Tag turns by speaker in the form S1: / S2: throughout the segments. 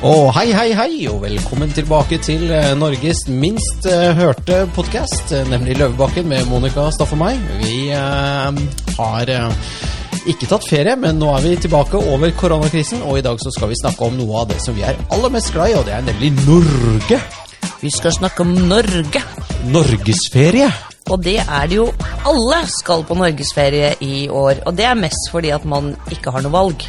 S1: Og hei, hei, hei, og velkommen tilbake til eh, Norges minst eh, hørte podkast, nemlig Løvebakken med Monica Staff og meg. Vi eh, har eh, ikke tatt ferie, men nå er vi tilbake over koronakrisen, og i dag så skal vi snakke om noe av det som vi er aller mest glad i, og det er nemlig Norge.
S2: Vi skal snakke om Norge.
S1: Norgesferie.
S2: Og det er det jo alle skal på norgesferie i år. Og det er mest fordi at man ikke har noe valg.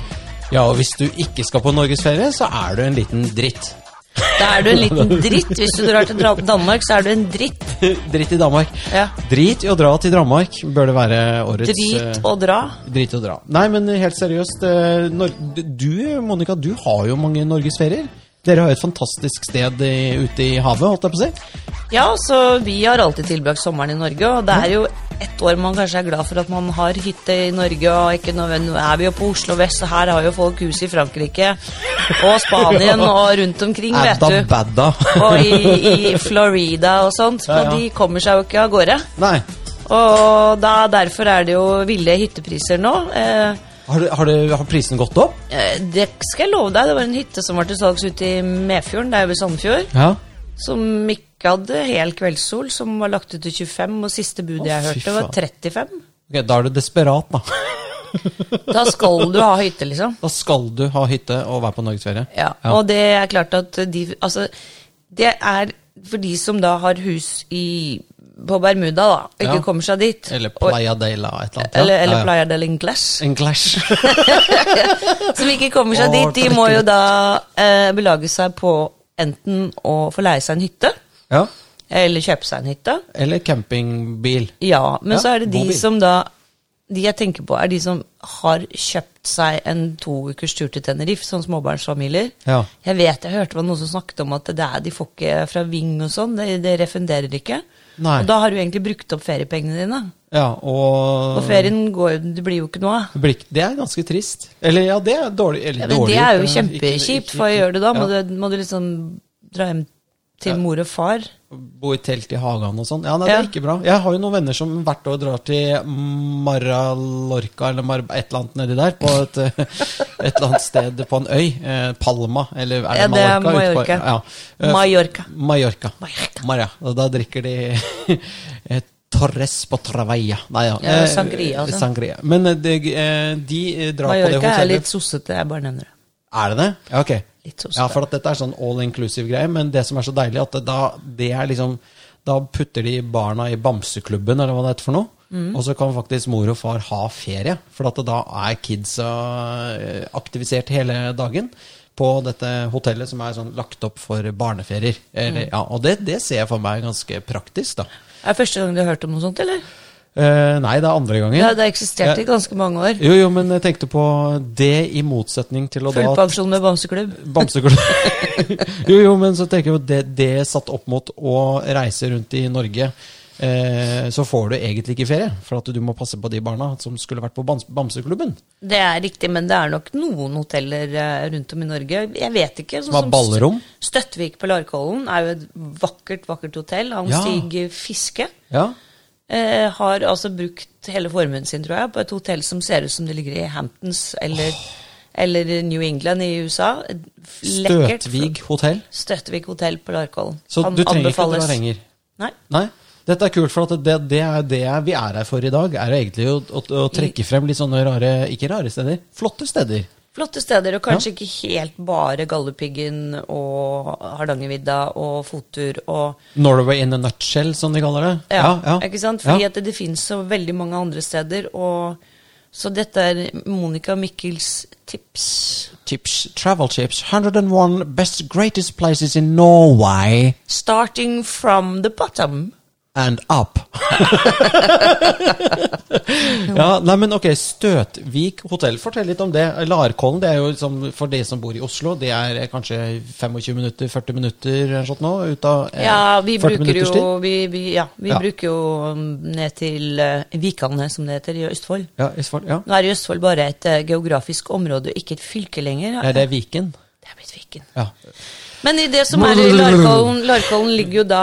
S1: Ja, og hvis du ikke skal på norgesferie, så er du en liten dritt.
S2: Da er du en liten dritt. Hvis du drar til Dra- Danmark, så er du en dritt.
S1: Dritt i Danmark.
S2: Ja.
S1: Drit i å dra til Danmark, bør det være årets eh,
S2: Drit å dra.
S1: Drit å dra. Nei, men helt seriøst. eh, Nor- Du, Monica, du har jo mange norgesferier. Dere har jo et fantastisk sted i, ute i havet, holdt jeg på å si.
S2: Ja, så vi har alltid tilbrakt sommeren i Norge, og det er jo ett år man kanskje er glad for at man har hytte i Norge, og ikke nødvendig Nå er vi jo på Oslo vest, og her har jo folk hus i Frankrike og Spanien og rundt omkring, vet
S1: Adda
S2: du.
S1: badda.
S2: Og i, i Florida og sånt.
S1: Ja, ja.
S2: Og de kommer seg jo ikke av gårde.
S1: Nei.
S2: Og da, derfor er det jo ville hyttepriser nå. Eh,
S1: Har, du, har, du, har prisen gått opp?
S2: eh, det skal jeg love deg. Det var en hytte som var til salgs ute i Medfjorden, det er jo ved Sandfjord,
S1: Ja.
S2: som ikke hadde hel kveldssol, som var lagt ut til 25, og siste budet jeg
S1: Å, fy
S2: hørte, var 35.
S1: Ok, Da er du desperat, da.
S2: Da skal du ha hytte, liksom.
S1: Da skal du ha hytte og være på norgesferie.
S2: Ja, Og det er klart at de Altså, det er for de som da har hus i, på Bermuda, da, og ikke
S1: Ja.
S2: kommer seg dit.
S1: Eller
S2: og,
S1: Playa de la et eller annet. ja.
S2: eller, eller
S1: Ja, ja.
S2: Playa del Ingles.
S1: En clash.
S2: Som ikke kommer seg
S1: Å,
S2: dit, de må jo da eh, belage seg på enten å få leie seg en hytte,
S1: ja.
S2: eller kjøpe seg en hytte.
S1: Eller campingbil.
S2: Ja, men
S1: Ja,
S2: så er det de
S1: bobil.
S2: som da De jeg tenker på, er de som har kjøpt seg en to ukers tur til Tenerife, sånn småbarnsfamilier.
S1: Ja.
S2: Jeg vet, jeg hørte det var noen som snakket om at det er, de får ikke fra Ving og sånn, det, det refunderer ikke.
S1: Nei.
S2: Og da har du egentlig brukt opp feriepengene dine.
S1: Ja, og,
S2: Og ferien går, jo- det blir jo ikke noe av.
S1: Blikk. Det er ganske trist. Eller ja, det er dårlig. Eller,
S2: Ja, men
S1: dårlig
S2: det er jo
S1: gjort, men ikke-
S2: kjempekjipt,
S1: ikke-
S2: for gjør du da? Må,
S1: Ja.
S2: du, må du liksom dra hjem til mor og far?
S1: Bo i telt i hagen og sånn. Ja, nei,
S2: Ja.
S1: det er ikke bra. Jeg har jo noen venner som hvert år drar til Maralorca eller Mar et eller annet nedi der, på et, eh, et eller annet sted på en øy. Eh, Palma, eller er det
S2: Ja, det er
S1: Mallorca? Ute på-
S2: Mallorca.
S1: Ja. Eh,
S2: Mallorca.
S1: Mallorca.
S2: Mallorca.
S1: Maria. Og da drikker de eh, Torres på Travalla. Nei, ja.
S2: Ja,
S1: Eh,
S2: sangria, altså.
S1: Sangria. Men eh, det, eh, de eh, drar på det
S2: Mallorca er
S1: hotellet.
S2: litt sossete, jeg bare nevner det.
S1: Er det det? Ja, ok.
S2: Litt sånn
S1: ja, for at dette er sånn all inclusive-greie, men det som er så deilig, at det, da, det er liksom, da putter de barna i bamseklubben, eller hva det heter for noe,
S2: Mm.
S1: og så kan faktisk mor og far ha ferie, for at da er kidsa eh, aktivisert hele dagen på dette hotellet som er sånn lagt opp for barneferier. Eller,
S2: Mm.
S1: ja, og det, det ser jeg for meg ganske praktisk, da.
S2: Er det første gang du har hørt om noe sånt, eller?
S1: Eh, nei, det er andre gangen.
S2: Ja, det har eksistert i ganske mange år.
S1: Jo, jo, men jeg tenkte på det i motsetning til å da
S2: Fullpensjon med bamseklubb.
S1: Bamseklubb. jo, jo, men så tenker jeg jo det, det er satt opp mot å reise rundt i Norge, eh, så får du egentlig ikke ferie. For at du må passe på de barna som skulle vært på bams Bamseklubben.
S2: Det er riktig, men det er nok noen hoteller eh, rundt om i Norge. Jeg vet ikke. sånn
S1: Som har ballrom?
S2: Stø- Støttvik på Larkollen er jo et vakkert, vakkert hotell. Han
S1: Ja.
S2: Stig Fiske
S1: Ja.
S2: eh, har altså brukt hele formuen sin, tror jeg, på et hotell som ser ut som det ligger i Hamptons eller, eller New England i USA. Et f- lekkert-
S1: Støtvig hotell.
S2: Støtvik hotell på Larkollen.
S1: Så
S2: Han
S1: du trenger ikke å
S2: anbefales.
S1: dra lenger.
S2: Nei.
S1: Nei. Dette er kult, for at det, det er det vi er her for i dag. Er jo egentlig å, å, å trekke frem litt sånne rare Ikke rare steder, flotte steder.
S2: Flotte steder, og kanskje ikke helt bare Galdhøpiggen og Hardangervidda og fottur og
S1: Norway in a nutshell, som de kaller det.
S2: ja, Ikke sant? Fordi
S1: Ja.
S2: at det, det finnes så veldig mange andre steder, og så dette er Monica Mikkels tips.
S1: Tips, travel tips, 101 best greatest places in Norway.
S2: Starting from the bottom.
S1: and up. ja, nei, men ok, Støtvik hotell, fortell litt om det. Larkollen, det er jo liksom, for de som bor i Oslo, det er eh, kanskje 25 minutter, 40 minutter eller sånt nå, ut av eh,
S2: Ja, vi
S1: 40
S2: bruker
S1: minutters
S2: jo,
S1: tid.
S2: vi, vi, ja, vi
S1: Ja.
S2: bruker jo mm, ned til eh, Vikane, som det heter, i Østfold.
S1: Ja, i Svar- ja.
S2: Nå er jo Østfold bare et eh, geografisk område, og ikke et fylke lenger.
S1: Er det Viken?
S2: Det jeg blitt fikken.
S1: Ja.
S2: Men i det som er i Larkollen, Larkollen ligger jo da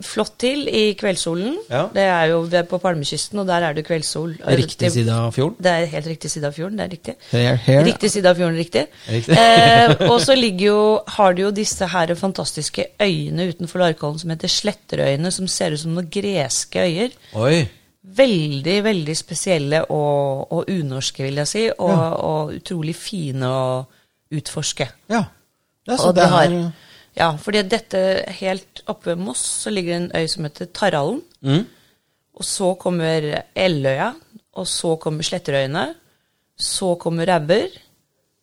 S2: flott til i kveldssolen.
S1: Ja.
S2: Det er jo det er på Palmekysten, og der er det kveldssol.
S1: Riktig side av fjorden.
S2: Det er helt riktig side av fjorden, det er riktig.
S1: Her, her.
S2: Riktig side av fjorden, riktig.
S1: Riktig.
S2: Eh, og så ligger jo, har du jo disse her fantastiske øyene utenfor Larkollen som heter Sletterøyene, som ser ut som noen greske øyer.
S1: Oi.
S2: Veldig, veldig spesielle og, og unorske, vil jeg si, og, og utrolig fine å utforske.
S1: Ja. Ja, så
S2: Og det har,
S1: er-
S2: ja, fordi dette helt oppe ved Moss så ligger det en øy som heter Tarallen.
S1: Mm.
S2: Og så kommer Elløya, og så kommer Sletterøyene. Så kommer Rauber.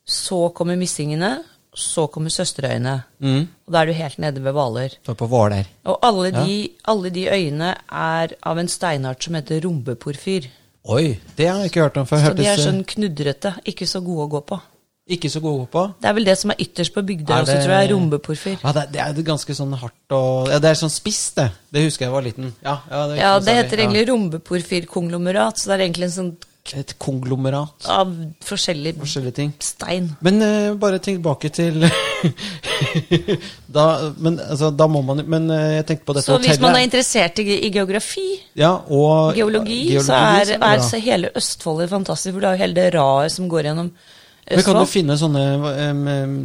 S2: Så kommer Missingene. Så kommer Søsterøyene.
S1: Mm.
S2: Og da er du helt nede ved Hvaler.
S1: Så på Våler.
S2: Og alle de, alle de øyene er av en steinart som heter rombeporfyr.
S1: Oi, det har jeg ikke hørt om før.
S2: Så de er
S1: Hørtes eh,
S2: sånn knudrete, ikke så gode å gå på.
S1: ikke så gode på.
S2: Det er vel det som er ytterst på Bygdøy
S1: Er
S2: også,
S1: det-
S2: tror jeg. Rombeporfyr.
S1: Ja, det, det er ganske sånn hardt og ja, Det er sånn spisst, det. Det husker jeg var liten. Ja, ja, det, er ikke
S2: Ja,
S1: noe
S2: det
S1: særlig.
S2: heter egentlig rombeporfyrkonglomerat, så det er egentlig en sånn
S1: ja. Et konglomerat.
S2: av forskjellig
S1: Forskjellige ting.
S2: stein.
S1: Men eh, bare tilbake til da, men, altså, da må man Men eh, jeg tenkte på dette
S2: Så hvis man er
S1: hotellet.
S2: interessert i, i geografi,
S1: ja, og
S2: geologi, så
S1: geologi,
S2: er,
S1: det bra.
S2: er så hele Østfold er fantastisk, for du har jo hele det raet som går gjennom
S1: Men kan du
S2: Østfold.
S1: finne sånne em, em,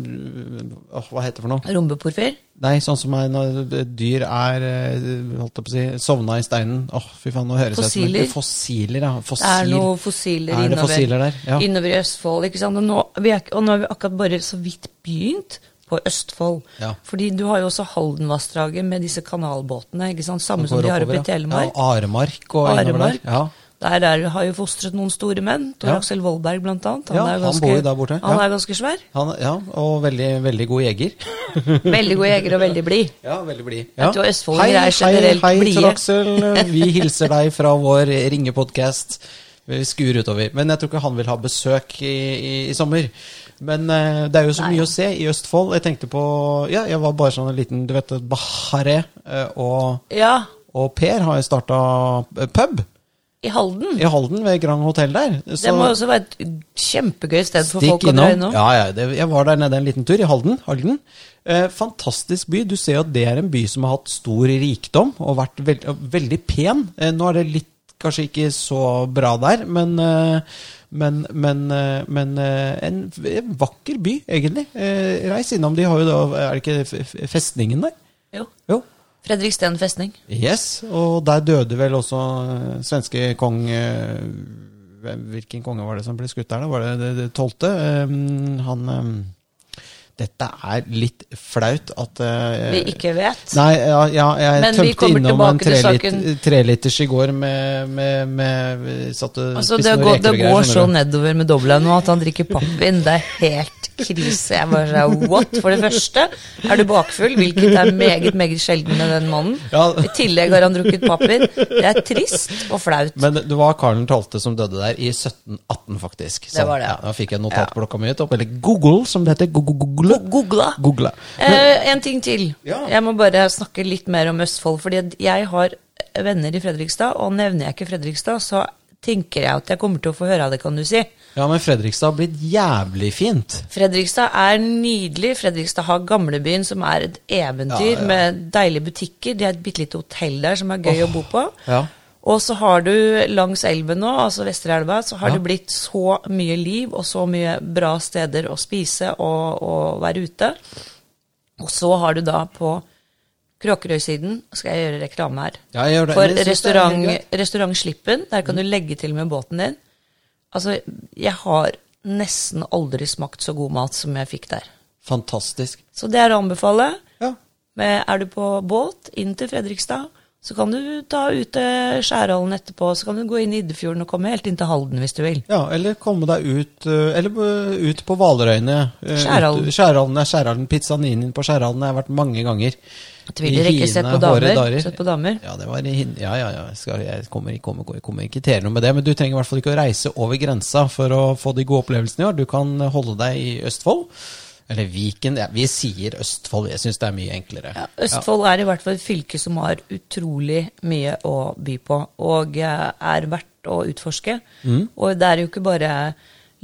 S1: åh, Hva heter det for noe?
S2: Rombeporfyr.
S1: Nei, sånn som er når dyr er eh, holdt jeg på å si, sovna i steinen. Åh, fy faen, nå høres jeg ut som
S2: Fossiler.
S1: en- Fossiler, ja. Fossil.
S2: Det er noen fossiler,
S1: Er det
S2: innover,
S1: fossiler der? Ja.
S2: innover i Østfold. ikke sant? Og nå, vi er, ikke- og nå har vi akkurat bare så vidt begynt på Østfold.
S1: Ja.
S2: Fordi du har jo også Haldenvassdraget med disse kanalbåtene. ikke sant? Samme
S1: Går
S2: som de har
S1: oppover,
S2: oppe i
S1: ja.
S2: Telemark.
S1: Ja, Aremark og innover
S2: Aremark.
S1: der. Ja.
S2: Der er, har jo fostret noen store menn. Tor
S1: Ja.
S2: Aksel Vollberg, blant annet.
S1: Ja,
S2: er
S1: han bor jo der borte.
S2: Han
S1: Ja.
S2: er ganske svær.
S1: Han, ja, og veldig, veldig god jeger.
S2: Veldig god jeger og veldig blid.
S1: Ja, veldig blid.
S2: Jeg tror østfoldinger er generelt
S1: hei,
S2: blide.
S1: Tor Aksel. Vi hilser deg fra vår ringepodkast. Vi skuer utover. Men jeg tror ikke han vil ha besøk i, i, i sommer. Men eh, det er jo så mye å se i Østfold. Jeg tenkte på Ja, jeg var bare sånn en liten Du vet Bahare eh, og,
S2: Ja,
S1: og Per har jo starta pub
S2: i Halden.
S1: i Halden, ved Grand Hotell der.
S2: Det må jo også være et kjempegøy sted for folk å dra
S1: innom.
S2: innom.
S1: Ja, ja, det, jeg var der nede en liten tur, i Halden. Halden. Eh, fantastisk by. Du ser jo at det er en by som har hatt stor rikdom og vært veld, veldig pen. Eh, nå er det litt kanskje ikke så bra der, men eh, men, men, eh, men eh, en v- en vakker by, egentlig. Eh, reis innom. De har jo da Er det ikke f- f- festningen der?
S2: Jo.
S1: Jo.
S2: Fredriksten festning.
S1: Yes, og der døde vel også eh, svenske kong eh, hvem- Hvilken konge var det som ble skutt der, da? Var det det- det tolvte? Eh, Han eh, Dette er litt flaut at eh,
S2: Vi ikke vet.
S1: Nei, ja, ja jeg
S2: Men vi
S1: tømte
S2: kommer
S1: innom en
S2: tilbake til
S1: trelit- treliters i går med, med, med Satt og
S2: Altså,
S1: spiste
S2: det,
S1: noen
S2: går, det
S1: reker og greier.
S2: går så
S1: skjønner du.
S2: nedover med dobla nå at han drikker pappvin. Det er helt krise. Jeg bare sa what? For det første er du bakfull, hvilket er meget, meget sjelden med den mannen.
S1: Ja.
S2: I tillegg har han drukket pappvin. Det er trist og flaut.
S1: Men det var Karl 12. som døde der i 1718, faktisk.
S2: Det var det.
S1: Ja, da fikk jeg notatblokka mi ut opp. Eller Google, som det heter. Google. Google.
S2: Googla.
S1: Google.
S2: Eh, en ting til.
S1: Ja.
S2: Jeg må bare snakke litt mer om Østfold. Fordi at jeg har venner i Fredrikstad, og nevner jeg ikke Fredrikstad, så tenker jeg at jeg kommer til å få høre av det, kan du si.
S1: Ja, men Fredrikstad har blitt jævlig fint.
S2: Fredrikstad er nydelig. Fredrikstad har Gamlebyen, som er et eventyr
S1: Ja, ja.
S2: med deilige butikker. Det er et bitte lite hotell der som er gøy å bo på.
S1: ja.
S2: Og så har du langs elven nå, altså Vesterelva, så har
S1: Ja.
S2: det blitt så mye liv og så mye bra steder å spise og, og være ute. Og så har du da på Kråkerøy-siden Skal jeg gjøre reklame her?
S1: Ja, jeg gjør det. Men
S2: For
S1: jeg synes det er Mm. helt
S2: restaurant,
S1: greit.
S2: restaurant Slippen, der kan du legge til med båten din. Altså, jeg har nesten aldri smakt så god mat som jeg fikk der.
S1: Fantastisk.
S2: Så det er å anbefale.
S1: Ja.
S2: Men Er du på båt inn til Fredrikstad, så kan du ta ut til Skjærhallen etterpå, så kan du gå inn i Iddefjorden og komme helt inn til Halden hvis du vil.
S1: ja, eller komme deg ut eh, Eller eh, ut på Hvalerøyene. eh,
S2: Skjærhallen.
S1: ut- Skjærhallen er Skjærhallen. Pizzaninen på Skjærhallen har jeg vært mange ganger.
S2: Tviler
S1: I
S2: ikke sett på
S1: hiene, håre
S2: damer.
S1: dager.
S2: Sett på damer.
S1: Ja, det var i hin- ja, ja, ja. Jeg, skal, jeg kommer, ikke- kommer, kommer, kommer ikke til noe med det. Men du trenger i hvert fall ikke å reise over grensa for å få de gode opplevelsene i år. Du kan holde deg i Østfold. Eller Viken. Ja, vi sier Østfold. Jeg syns det er mye enklere.
S2: Ja, Østfold er i hvert fall et fylke som har utrolig mye å
S1: Mm.
S2: by på, og eh, er verdt å utforske. Og det er jo ikke bare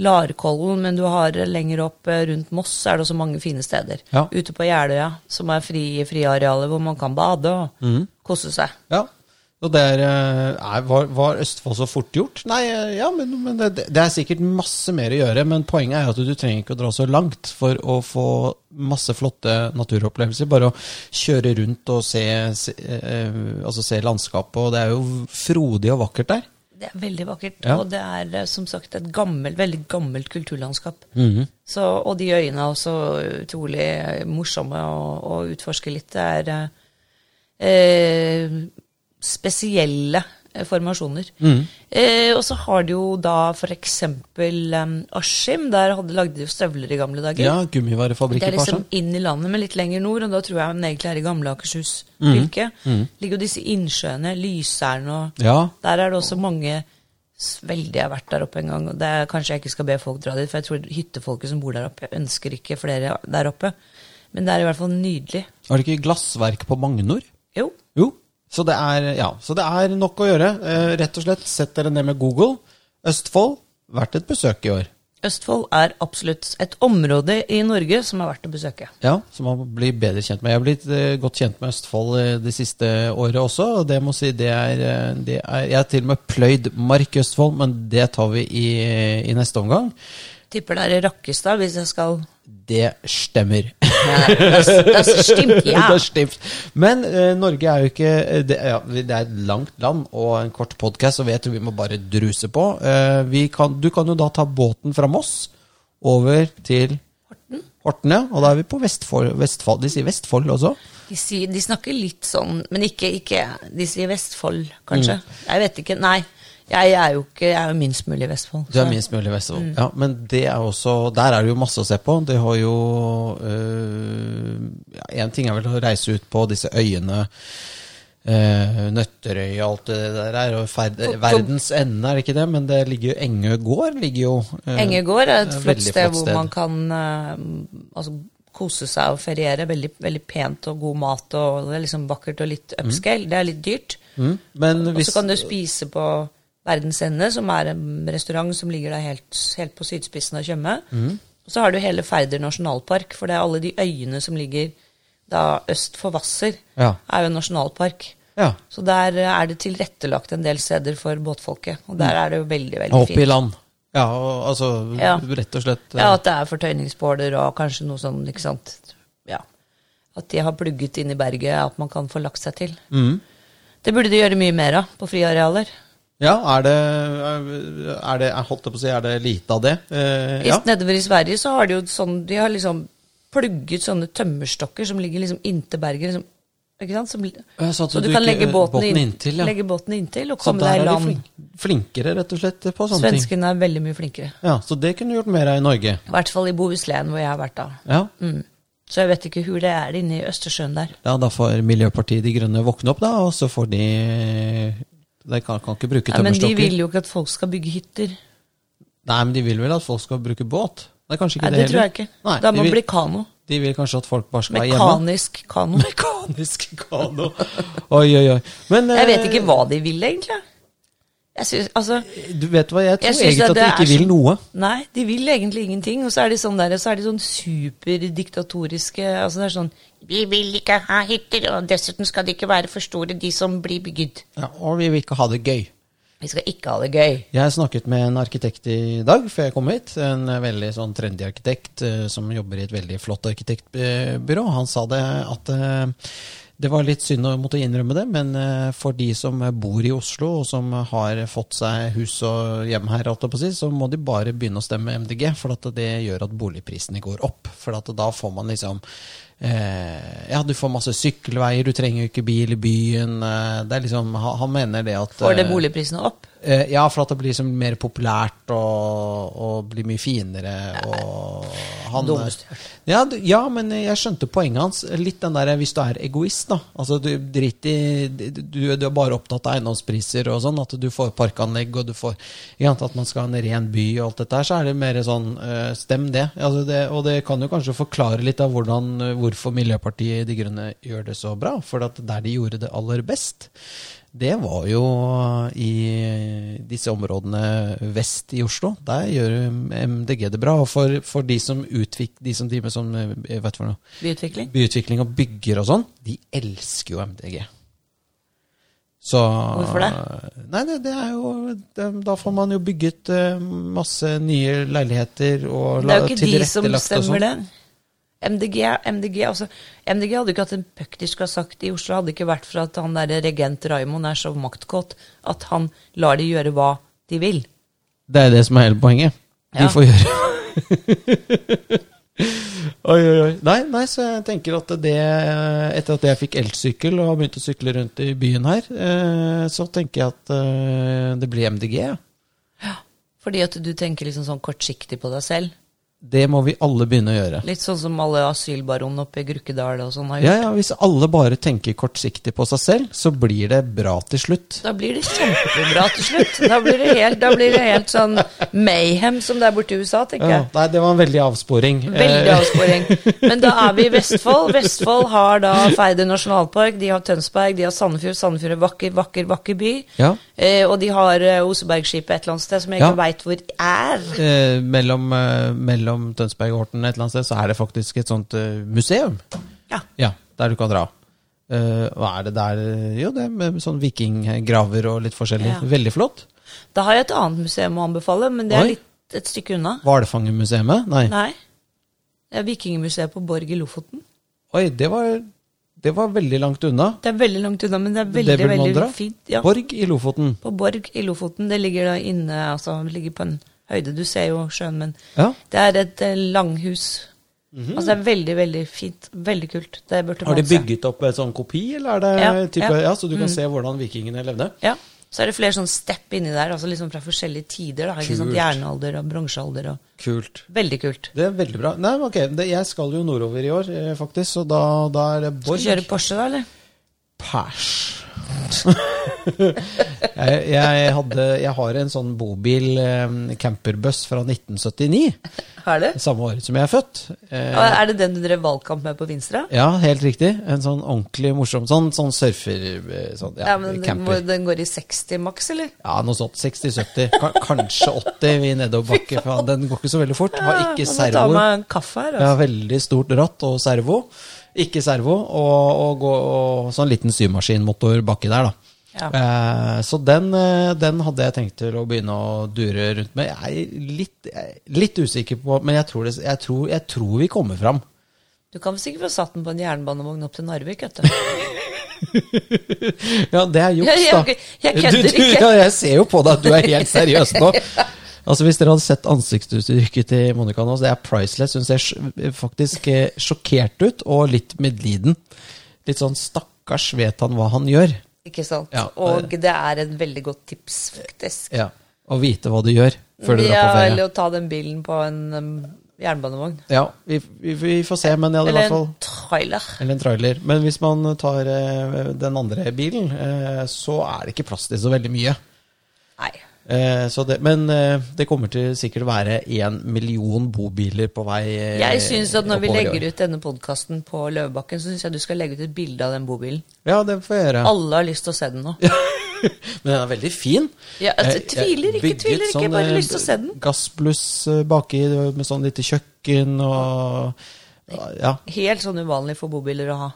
S2: Larkollen, men du har lenger opp eh, rundt Moss er det også mange fine steder.
S1: Ja.
S2: Ute på Jeløya, som er fri, friarealer hvor man kan bade og
S1: Mm.
S2: kose seg.
S1: Ja. Og der eh, er, var, var Østfold så fort gjort? Nei, eh, ja, men, men det, det er sikkert masse mer å gjøre. Men poenget er at du trenger ikke å dra så langt for å få masse flotte naturopplevelser. Bare å kjøre rundt og se, se, eh, altså se landskapet, og det er jo frodig og vakkert der.
S2: Det er veldig vakkert,
S1: Ja.
S2: og det er eh, som sagt et gammelt, veldig gammelt kulturlandskap.
S1: Mhm.
S2: så, og de øyene er også utrolig eh, morsomme å, å utforske litt. Det er eh, eh, spesielle eh, formasjoner.
S1: Mhm.
S2: Eh, og så har de jo da for eksempel eh, Askim, der hadde, lagde de jo støvler i gamle dager.
S1: Ja,
S2: Det
S1: gummivarefabrikk
S2: er
S1: i
S2: liksom
S1: Farsund.
S2: inn i landet, men litt lenger nord, og da tror jeg den egentlig er i gamle Akershus
S1: Mhm.
S2: fylke. Ligger jo disse innsjøene, Lyseren og
S1: Ja.
S2: Der er det også mange s- Veldig jeg har vært der oppe en gang, og det er kanskje jeg ikke skal be folk dra dit, for jeg tror hyttefolket som bor der oppe, ønsker ikke flere der oppe. Men det er i hvert fall nydelig.
S1: Har du ikke glassverk på Magnor?
S2: Jo.
S1: Jo. Så det er, ja, så det er nok å gjøre. Eh, rett og slett, sett dere ned med Google. Østfold, verdt et besøk i år.
S2: Østfold er absolutt et område i Norge som er verdt å besøke.
S1: Ja, som man blir bedre kjent med. Jeg har blitt eh, godt kjent med Østfold eh, det siste året også. og det må jeg si, det er, eh, det er, Jeg har til og med pløyd mark i Østfold, men det tar vi i, i neste omgang.
S2: Tipper det er i Rakkestad, hvis jeg skal
S1: Det stemmer.
S2: Nei, das, das stimmt, ja.
S1: det er stivt. Men eh, Norge er jo ikke eh, det, ja, vi- det er et langt land og en kort podkast, så vi- jeg tror vi må bare druse på. Eh, vi kan, du kan jo da ta båten fra Moss over til Horten. Horten ja, og da er vi på Vestfold. Vestfold. De sier Vestfold også.
S2: De, sier, de snakker litt sånn, men ikke, ikke De sier Vestfold, kanskje?
S1: Mm.
S2: Jeg vet ikke. Nei. Jeg er jo ikke, jeg er jo minst mulig i Vestfold.
S1: Du er
S2: så-
S1: minst mulig i Vestfold.
S2: Mm.
S1: Ja, men det er også, der er det jo masse å se på. Det har jo øh, ja, En ting er vel å reise ut på disse øyene. øh, Nøtterøy og alt det der er og ferd,
S2: På- på-
S1: Verdens ende, er det ikke det? Men det ligger jo Engø gård. ligger jo øh,
S2: Engegård er et
S1: veldig
S2: flott sted
S1: flott
S2: hvor
S1: sted.
S2: man kan eh, altså, kose seg og feriere. Veldig, veldig pent og god mat, og det er liksom vakkert og litt upscale. Det er litt dyrt.
S1: mm, Men
S2: Og
S1: hvis
S2: så kan du spise på Verdens Ende, som er en restaurant som ligger der helt, helt på sydspissen av Tjøme.
S1: Mm.
S2: Og så har du hele Færder nasjonalpark, for det er alle de øyene som ligger da øst for Hvasser,
S1: Ja.
S2: er jo en nasjonalpark.
S1: Ja.
S2: Så der eh, er det tilrettelagt en del steder for båtfolket, og
S1: Mm.
S2: der er det jo veldig, veldig
S1: Hopp i
S2: fint.
S1: land. Ja, og, altså
S2: Ja.
S1: rett og slett øh,
S2: Ja, at det er fortøyningsbåler og kanskje noe sånn, ikke sant. Ja. At de har plugget inn i berget, at man kan få lagt seg til.
S1: Mm.
S2: Det burde de gjøre mye mer av på friarealer.
S1: ja, er det, er det Jeg holdt på å si, er det lite av det? Eh,
S2: I-
S1: ja.
S2: Nedover i Sverige så har de jo sånn De har liksom plugget sånne tømmerstokker som ligger liksom inntil berget. Liksom, ikke sant? Som,
S1: Ja, sånn at
S2: så du,
S1: du
S2: kan
S1: ikke-
S2: legge båten,
S1: båten
S2: inn-
S1: inntil, ja.
S2: legge båten inntil og
S1: Så
S2: komme
S1: der
S2: deg i
S1: er de
S2: land.
S1: flink, flinkere, rett og slett, på sånne ting.
S2: Svenskene er veldig mye flinkere.
S1: Ja, Så det kunne du gjort mer av i Norge.
S2: I hvert fall i Bohuslän, hvor jeg har vært da.
S1: Ja.
S2: Mm. Så jeg vet ikke hvor det er inne i Østersjøen der.
S1: ja, Da får Miljøpartiet De Grønne våkne opp, da, og så får de De kan, kan ikke bruke
S2: Nei, men de
S1: tømmerstokker.
S2: vil jo ikke at folk skal bygge hytter.
S1: Nei, men de vil vel at folk skal bruke båt? Det er kanskje ikke
S2: Nei,
S1: det
S2: det tror jeg ikke.
S1: Nei,
S2: da
S1: de,
S2: må
S1: vil,
S2: det bli kano.
S1: de vil kanskje at folk bare skal være hjemme.
S2: Mekanisk kano.
S1: Mekanisk kano. Oi, oi, oi. Men
S2: Jeg vet ikke hva de vil, egentlig. Jeg synes, altså,
S1: eh, Du vet hva, jeg tror
S2: jeg synes
S1: egentlig at de
S2: det
S1: ikke
S2: er
S1: vil
S2: så-
S1: noe.
S2: Nei, de vil egentlig ingenting. Og så er de sånn der, så er de sånn superdiktatoriske altså det er sånn, Vi vil ikke ha hytter, og dessuten skal det ikke være for store, de som blir bygd.
S1: Ja, og vi vil ikke ha det gøy.
S2: Vi skal ikke ha det gøy.
S1: Jeg snakket med en arkitekt i dag før jeg kom hit. En veldig sånn trendy arkitekt eh, som jobber i et veldig flott arkitektbyrå. Han sa det at eh, det var litt synd å måtte innrømme det, men eh, for de som bor i Oslo og som har fått seg hus og hjem her, holdt jeg på å si, så må de bare begynne å stemme MDG, for at det gjør at boligprisene går opp. For at da får man liksom eh, Ja, du får masse sykkelveier, du trenger jo ikke bil i byen. Eh, det er liksom, han han mener det at
S2: Får det
S1: eh,
S2: boligprisene opp?
S1: Eh, ja, for at det blir liksom mer populært og, og blir mye finere. Og han,
S2: Dummeste
S1: ja, du- ja, men jeg skjønte poenget hans. Litt den der hvis du er egoist, da. Altså, du drit i du, du er bare opptatt av eiendomspriser og sånn. At du får parkanlegg, og du får ikke sant, At man skal ha en ren by og alt dette her. Så er det mer sånn eh, Stem det. Altså det. Og det kan jo kanskje forklare litt av hvordan, eh, hvorfor Miljøpartiet De Grønne gjør det så bra. For at der de gjorde det aller best, det var jo i disse områdene vest i Oslo. Der gjør MDG det bra. Og for, for de, som utvik, de som driver med sånn eh, vet du hva nå,
S2: Byutvikling.
S1: byutvikling og bygger og sånn, de elsker jo MDG. Så,
S2: Hvorfor det?
S1: Nei, det, det er jo det, Da får man jo bygget eh, masse nye leiligheter og
S2: Det er jo
S1: la-
S2: ikke de som
S1: tilrettelagt og sånn.
S2: bestemmer det. MDG, MDG, altså, MDG hadde jo ikke hatt en puck de skulle ha sagt i Oslo. Hadde det ikke vært for at han der regent Raimond er så maktkåt at han lar de gjøre hva de vil.
S1: Det er det som er hele poenget. De
S2: Ja.
S1: får gjøre Oi, oi, oi. Nei, nei, så jeg tenker at det Etter at jeg fikk elsykkel og har begynt å sykle rundt i byen her, eh, så tenker jeg at eh, det blir MDG. ja.
S2: Fordi at du tenker liksom sånn kortsiktig på deg selv.
S1: Det må vi alle begynne å gjøre.
S2: Litt sånn som alle asylbaronene oppe i Grukkедal og sånn har
S1: Ja,
S2: gjort.
S1: ja, Hvis alle bare tenker kortsiktig på seg selv, så blir det bra til slutt.
S2: Da blir det kjempebra til slutt. Da blir det helt, da blir det helt sånn mayhem som det er borte i USA, tenker
S1: Ja,
S2: jeg.
S1: nei, det var en veldig avsporing.
S2: Veldig
S1: Eh,
S2: avsporing. Men da er vi i Vestfold. Vestfold har da Færder nasjonalpark, de har Tønsberg, de har Sandefjord. Sandefjord er vakker, vakker, vakker by.
S1: Ja.
S2: Eh, og de har eh, Osebergskipet et eller annet sted som jeg
S1: Ja.
S2: ikke veit hvor er.
S1: eh, mellom, eh, mellom Tønsberg og Horten et eller annet sted, så er det faktisk et sånt eh, museum.
S2: Ja.
S1: Ja, der du kan dra. Eh, hva er det der Jo, det er med sånn vikinggraver og litt forskjellig.
S2: Ja.
S1: Veldig flott.
S2: Da har jeg et annet museum å anbefale, men det
S1: Oi.
S2: er litt et stykke unna.
S1: Hvalfangermuseet? Nei.
S2: Nei. Det er Vikingmuseet på Borg i Lofoten.
S1: Oi, det var, det var veldig langt unna.
S2: Det er veldig langt unna, men det er veldig,
S1: det burde man
S2: veldig
S1: dra.
S2: fint. Ja.
S1: Borg i Lofoten.
S2: På Borg i Lofoten. Det ligger da inne, altså det ligger på en høyde. Du ser jo sjøen, men
S1: Ja.
S2: det er et eh, langhus. Altså det er veldig, veldig fint. Veldig kult. Det burde
S1: Mhm. Har de
S2: man se.
S1: bygget opp en sånn kopi, eller er det
S2: Ja,
S1: type
S2: ja. Mm.
S1: Ja, så du kan se hvordan vikingene levde?
S2: Ja. Så er det flere sånn stepp inni der, altså liksom fra forskjellige tider. da, ikke sant?
S1: Kult.
S2: Jernalder og bronsealder og
S1: Kult.
S2: Veldig kult.
S1: Det er veldig bra. Nei, men ok, det, jeg skal jo nordover i år, eh, faktisk, så da, da er det
S2: Skal
S1: Borg.
S2: du kjøre Porsche, da, eller?
S1: Pæsj. jeg, jeg, hadde, jeg har en sånn bobil, eh, camperbuss fra 1979.
S2: Har du?
S1: Samme året som jeg er født. Eh,
S2: Og er det den du drev valgkamp med på Vinstra?
S1: ja, helt riktig. En sånn ordentlig morsom sånn, sånn surfer... eh, Sånn, ja,
S2: Ja, men den,
S1: camper.
S2: hvor- den går i 60 maks, eller?
S1: Ja, noe sånt. 60-70, ka- kanskje 80 vi nedoverbakke. faen, Den går ikke så veldig fort. Har
S2: Ja,
S1: ikke
S2: jeg må ta
S1: servo.
S2: meg en kaffe her,
S1: Ja,
S2: altså.
S1: veldig stort ratt og servo. Ikke servo, og, og, gå- og sånn liten symaskinmotor baki der, da.
S2: Ja.
S1: Eh, så den, eh, den hadde jeg tenkt til å begynne å dure rundt med. Jeg er litt, jeg er litt usikker på Men jeg tror, det, jeg, tror, jeg tror vi kommer fram.
S2: Du kan sikkert få satt den på en jernbanevogn opp til Narvik, vet du.
S1: Ja, det er juks,
S2: Jeg-
S1: da.
S2: jeg- jeg
S1: Du-
S2: kødder
S1: du-
S2: ikke.
S1: Ja, jeg ser jo på deg at du er helt seriøs nå. Altså Hvis dere hadde sett ansiktsuttrykket til Monica nå, så det er priceless. Hun ser sj- faktisk eh, sjokkert ut, og litt medliden. Litt sånn stakkars vet han hva han gjør.
S2: Ikke sant?
S1: Ja,
S2: og det er et veldig godt tips, faktisk.
S1: Ja. Å vite hva du gjør før du drar
S2: Ja,
S1: på
S2: Eller
S1: ferie.
S2: å ta den bilen på en um, jernbanevogn.
S1: Ja, vi, vi, vi får se, men jeg hadde i hvert
S2: Eller
S1: fall
S2: en trailer.
S1: Eller en trailer. Men hvis man tar eh, den andre bilen, eh, så er det ikke plass til så veldig mye.
S2: Nei.
S1: Eh, så det, men eh, det kommer til sikkert å være én million bobiler på vei eh,
S2: Jeg synes at når vi
S1: oppover i
S2: legger
S1: år.
S2: ut denne podkasten på Løvebakken, så syns jeg du skal legge ut et bilde av den bobilen.
S1: Ja, det får jeg gjøre.
S2: Alle har lyst til å se den nå.
S1: Men den er veldig fin.
S2: Ja, altså,
S1: Jeg- jeg
S2: tviler ikke,
S1: bygget
S2: tviler ikke, jeg bare
S1: eh,
S2: lyst til å se den.
S1: Gassbluss eh, baki med sånn lite kjøkken og ja,
S2: Helt sånn uvanlig for bobiler å ha.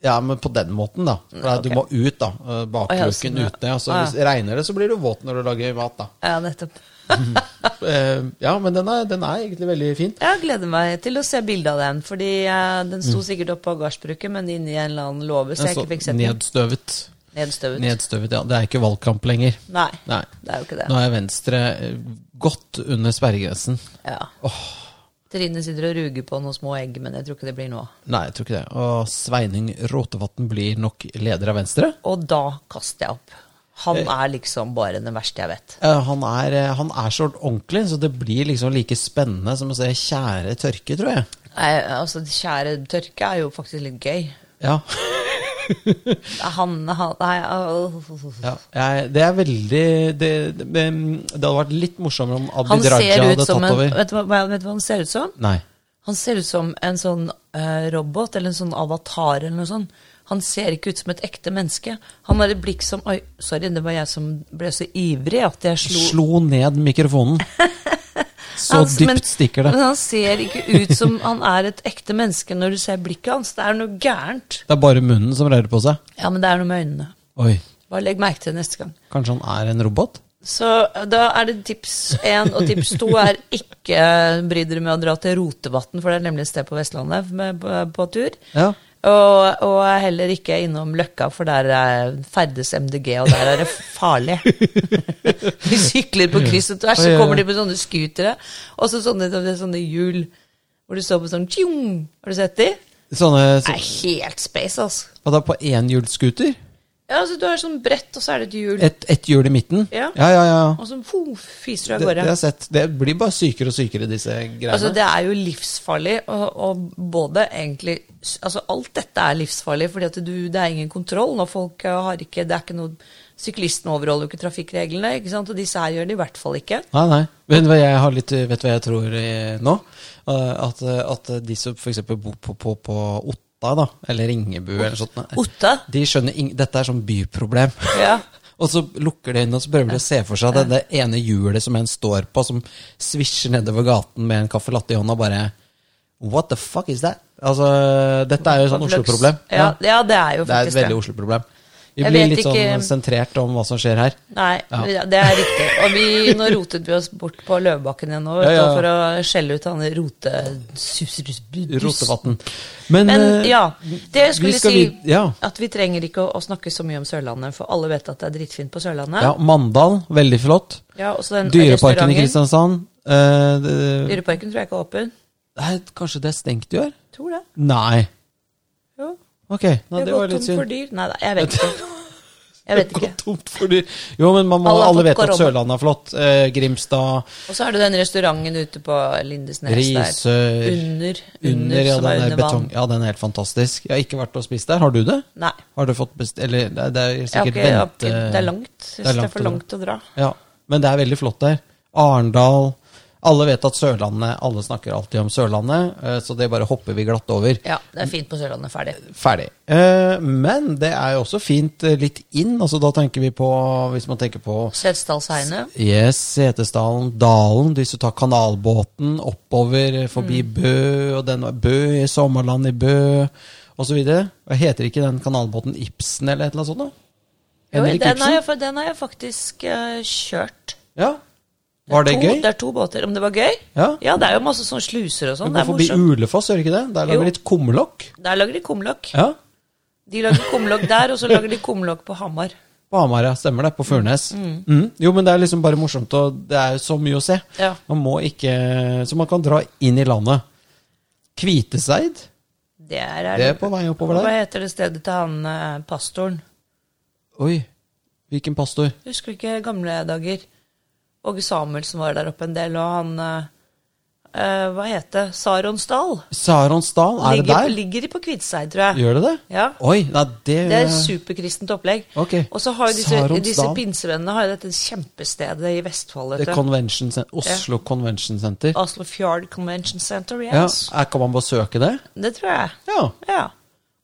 S1: ja, men på den måten, da. For
S2: Ja,
S1: Du
S2: ok.
S1: må ut, da. eh,
S2: Å, ja,
S1: Bakluken
S2: sånn, ja.
S1: ute. Altså,
S2: Å, ja.
S1: Hvis det regner det, så blir du våt når du lager mat, da.
S2: Ja, nettopp.
S1: Eh, ja, men den er, den er egentlig veldig fin.
S2: Jeg gleder meg til å se bilde av den, fordi eh, den
S1: Mm.
S2: sto sikkert oppe på gardsbruket, men inni en eller annen låve, så jeg ikke fikk sett den.
S1: nedstøvet.
S2: Nedstøvet.
S1: Nedstøvet, ja. Det er ikke valgkamp lenger.
S2: Nei,
S1: Nei.
S2: det er jo ikke
S1: Nå
S2: det.
S1: er Venstre eh, godt under sperregrensen.
S2: Ja. Trine sitter og ruger på noen små egg, men jeg tror ikke det blir noe av.
S1: Nei, jeg tror ikke det. Og Sveining Rotevatn blir nok leder av Venstre.
S2: Og da kaster jeg opp. Han er liksom bare den verste jeg vet.
S1: Eh, Han er, eh, han er så ordentlig, så det blir liksom like spennende som å se Kjære tørke, tror jeg.
S2: Nei, altså, kjære tørke er jo faktisk litt gøy.
S1: Ja.
S2: Han, han Nei, øh.
S1: ja. Jeg, det er veldig det, det, men det hadde vært litt morsommere om
S2: Han
S1: Abid Raja
S2: ser ut
S1: hadde
S2: som
S1: tatt
S2: en
S1: over.
S2: vet du, hva, vet du hva han ser ut som?
S1: Nei.
S2: Han ser ut som en sånn eh, robot, eller en sånn avatar, eller noe sånt. Han ser ikke ut som et ekte menneske. Han har et blikk som Oi, sorry, det var jeg som ble så ivrig at jeg slo,
S1: Slo ned mikrofonen. Så
S2: Han- men-
S1: dypt stikker det.
S2: Men han ser ikke ut som han er et ekte menneske når du ser blikket hans. Det er noe gærent.
S1: Det er bare munnen som rører på seg.
S2: Ja, men det er noe med øynene.
S1: Oi,
S2: Bare legg merke til det neste gang.
S1: kanskje han er en robot?
S2: Så eh, da er det tips én, og tips to er ikke bry dere med å dra til Rotevatn, for det er nemlig et sted på Vestlandet med, på, på tur.
S1: Ja.
S2: Og, og er heller ikke innom Løkka, for der er ferdes MDG, og der er det farlig. De sykler på kryss og tvers, så kommer de med sånne skutere, og så sånne, sånne hjul hvor du står på sånn tjong. Har du sett de?
S1: Sånne
S2: Det
S1: så,
S2: er helt space, altså.
S1: Hva da, på enhjulsscooter?
S2: Ja, altså Du har sånn brett, og så er det et hjul,
S1: Ett et hjul i midten?
S2: Ja.
S1: ja, ja. ja.
S2: og så fo,
S1: Det,
S2: fiser du av
S1: det har
S2: gårde.
S1: jeg sett. Det blir bare sykere og sykere, disse greiene.
S2: Altså, det er jo livsfarlig, og, og både egentlig altså, Alt dette er livsfarlig, fordi at du, det er ingen kontroll. Når folk eh, har ikke, det er ikke noe, Syklistene overholder jo ikke trafikkreglene, ikke sant? og disse her gjør det i hvert fall ikke.
S1: Nei, nei. Vet du hva jeg, har litt, vet du hva jeg tror eh, nå? Eh, At, eh, at de som f.eks. bor på, på, på Otta, da, eller Ringebu eller sånt, nei.
S2: Otta?
S1: de skjønner ing Dette er sånn byproblem.
S2: Ja.
S1: og så lukker de øynene og så prøver de å se for seg det, det ene hjulet som en står på, som svisjer nedover gaten med en caffè latte i hånda, og bare What the fuck is that? Altså, dette er jo sånn
S2: Flux.
S1: Oslo-problem.
S2: Ja, ja, det er jo
S1: Det er et
S2: faktisk det.
S1: veldig Oslo-problem. Vi
S2: Jeg
S1: blir
S2: vet
S1: litt
S2: ikke-
S1: sånn sentrert om hva som skjer her.
S2: Nei,
S1: Ja.
S2: ja, det er riktig. Og vi, nå rotet vi oss bort på Løvebakken igjen nå,
S1: Ja,
S2: vet
S1: ja.
S2: du, for å skjelle ut han rote...
S1: Rotevatn. Men,
S2: Men
S1: eh,
S2: ja, det jeg
S1: vi
S2: skulle
S1: skal
S2: si
S1: vid- ja.
S2: at vi trenger ikke å, å snakke så mye om Sørlandet, for alle vet at det er drittfint på Sørlandet.
S1: Ja, Mandal, veldig flott.
S2: Ja, og så den
S1: Dyreparken i
S2: Mm, restauranten.
S1: Kristiansand. eh, det,
S2: Dyreparken tror jeg ikke er åpen.
S1: nei, kanskje det er stengt i år?
S2: Tror det.
S1: Nei.
S2: Jo.
S1: Ok, nei, det
S2: vi
S1: var
S2: har gått
S1: litt
S2: tom for
S1: synd.
S2: dyr. Nei, nei, jeg vet ikke. Jeg vet ikke.
S1: Gått tomt for dyr. Jo, men man må,
S2: Alle
S1: alle,
S2: har fått
S1: vet at
S2: korona.
S1: Sørlandet er flott. Eh, Grimstad,
S2: Og så er det den restauranten ute på Lindesnes der.
S1: Risør
S2: Under.
S1: Under, ja,
S2: som
S1: den
S2: er
S1: er
S2: under vann.
S1: betong. Ja, den er helt fantastisk. Jeg har ikke vært og spist der. Har du det?
S2: Nei.
S1: Har du fått best... Eller det er- det er
S2: Jeg har
S1: sikkert
S2: ikke, jeg har ikke,
S1: vente-
S2: det er langt. Jeg
S1: det er
S2: synes Det
S1: langt
S2: er for
S1: å dra.
S2: langt å dra.
S1: Ja, men det er veldig flott der. Arendal. Alle vet at Sørlandet Alle snakker alltid om Sørlandet, eh, så det bare hopper vi glatt over.
S2: Ja, det er fint på Sørlandet. Ferdig.
S1: Ferdig. Eh, Men det er jo også fint eh, litt inn. altså Da tenker vi på Hvis man tenker på
S2: Setesdalsheiene.
S1: Yes, Setesdalen, Dalen, hvis du tar kanalbåten oppover eh, forbi
S2: Mm.
S1: Bø, og den Bø i Sommerland i Bø, osv. Heter ikke den kanalbåten Ibsen eller et eller annet sånt? da?
S2: Jo,
S1: Henrik
S2: Den, har
S1: Ibsen?
S2: jeg fa- den har jeg faktisk eh, kjørt.
S1: Ja. Var det
S2: to,
S1: gøy?
S2: Det er to båter. Om det var gøy?
S1: Ja.
S2: det er jo masse sånn sluser
S1: Du
S2: og sånn. Det
S1: går
S2: er
S1: forbi
S2: morsomt.
S1: Ulefoss, gjør du ikke det? Der
S2: Jo.
S1: lager de litt kumlokk.
S2: Der lager de kumlokk.
S1: Ja.
S2: De lager kumlokk der, og så lager de kumlokk på Hamar.
S1: På Hamar, ja. Stemmer det. På Furnes. Mm. Jo, men det er liksom bare morsomt, og det er jo så mye å se.
S2: Ja.
S1: Man må ikke Så man kan dra inn i landet. Kviteseid?
S2: Det er,
S1: Det er på vei oppover
S2: Hva
S1: der.
S2: heter det stedet til han eh, pastoren?
S1: Oi. Hvilken pastor?
S2: Jeg Husker du ikke gamle dager? Åge Samuelsen var der oppe en del, og han eh, eh, Hva het det? Saronsdal?
S1: Saronsdal? Er det
S2: ligger,
S1: der?
S2: ligger de på Kviteseid, tror jeg.
S1: Gjør det det?
S2: Ja.
S1: Oi, nei, det,
S2: Det er et superkristent opplegg.
S1: Ok.
S2: Og så har jo disse,
S1: Saronsdal.
S2: disse pinsevennene har jo dette kjempestedet i Vestfold.
S1: det
S2: vet
S1: er
S2: du.
S1: convention, Cen- Oslo Convention Center.
S2: Oslo Fjord Convention Center,
S1: Ja,
S2: yes.
S1: her Kan man besøke det?
S2: Det tror jeg.
S1: Ja.
S2: Ja.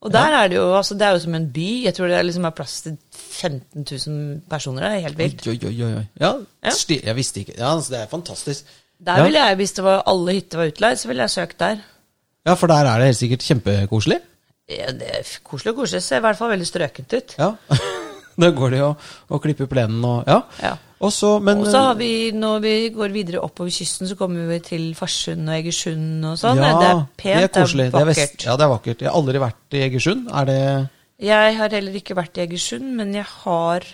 S2: Og der er det jo altså det er jo som en by. Jeg tror det er liksom er plass til 15 000 personer. Det er helt vilt.
S1: Oi, oi, oi, oi. Ja,
S2: Ja.
S1: sti- jeg visste ikke Ja, altså, det er fantastisk.
S2: Der
S1: ja.
S2: ville jeg, Hvis det var alle hytter var utleid, så ville jeg søkt der.
S1: Ja, for der er det helt sikkert kjempekoselig.
S2: Ja, det er f- koselig og koselig. Ser i hvert fall veldig strøkent ut.
S1: Ja. da går det jo å klippe plenen og Ja.
S2: Ja.
S1: Og så, men
S2: Og så har vi, når vi går videre oppover kysten, så kommer vi til Farsund og Egersund og sånn.
S1: ja,
S2: det er pent, det er,
S1: koselig. Det er
S2: vakkert.
S1: vest- ja, det er vakkert. Jeg har aldri vært i Egersund. Er det
S2: Jeg har heller ikke vært i Egersund, men jeg har,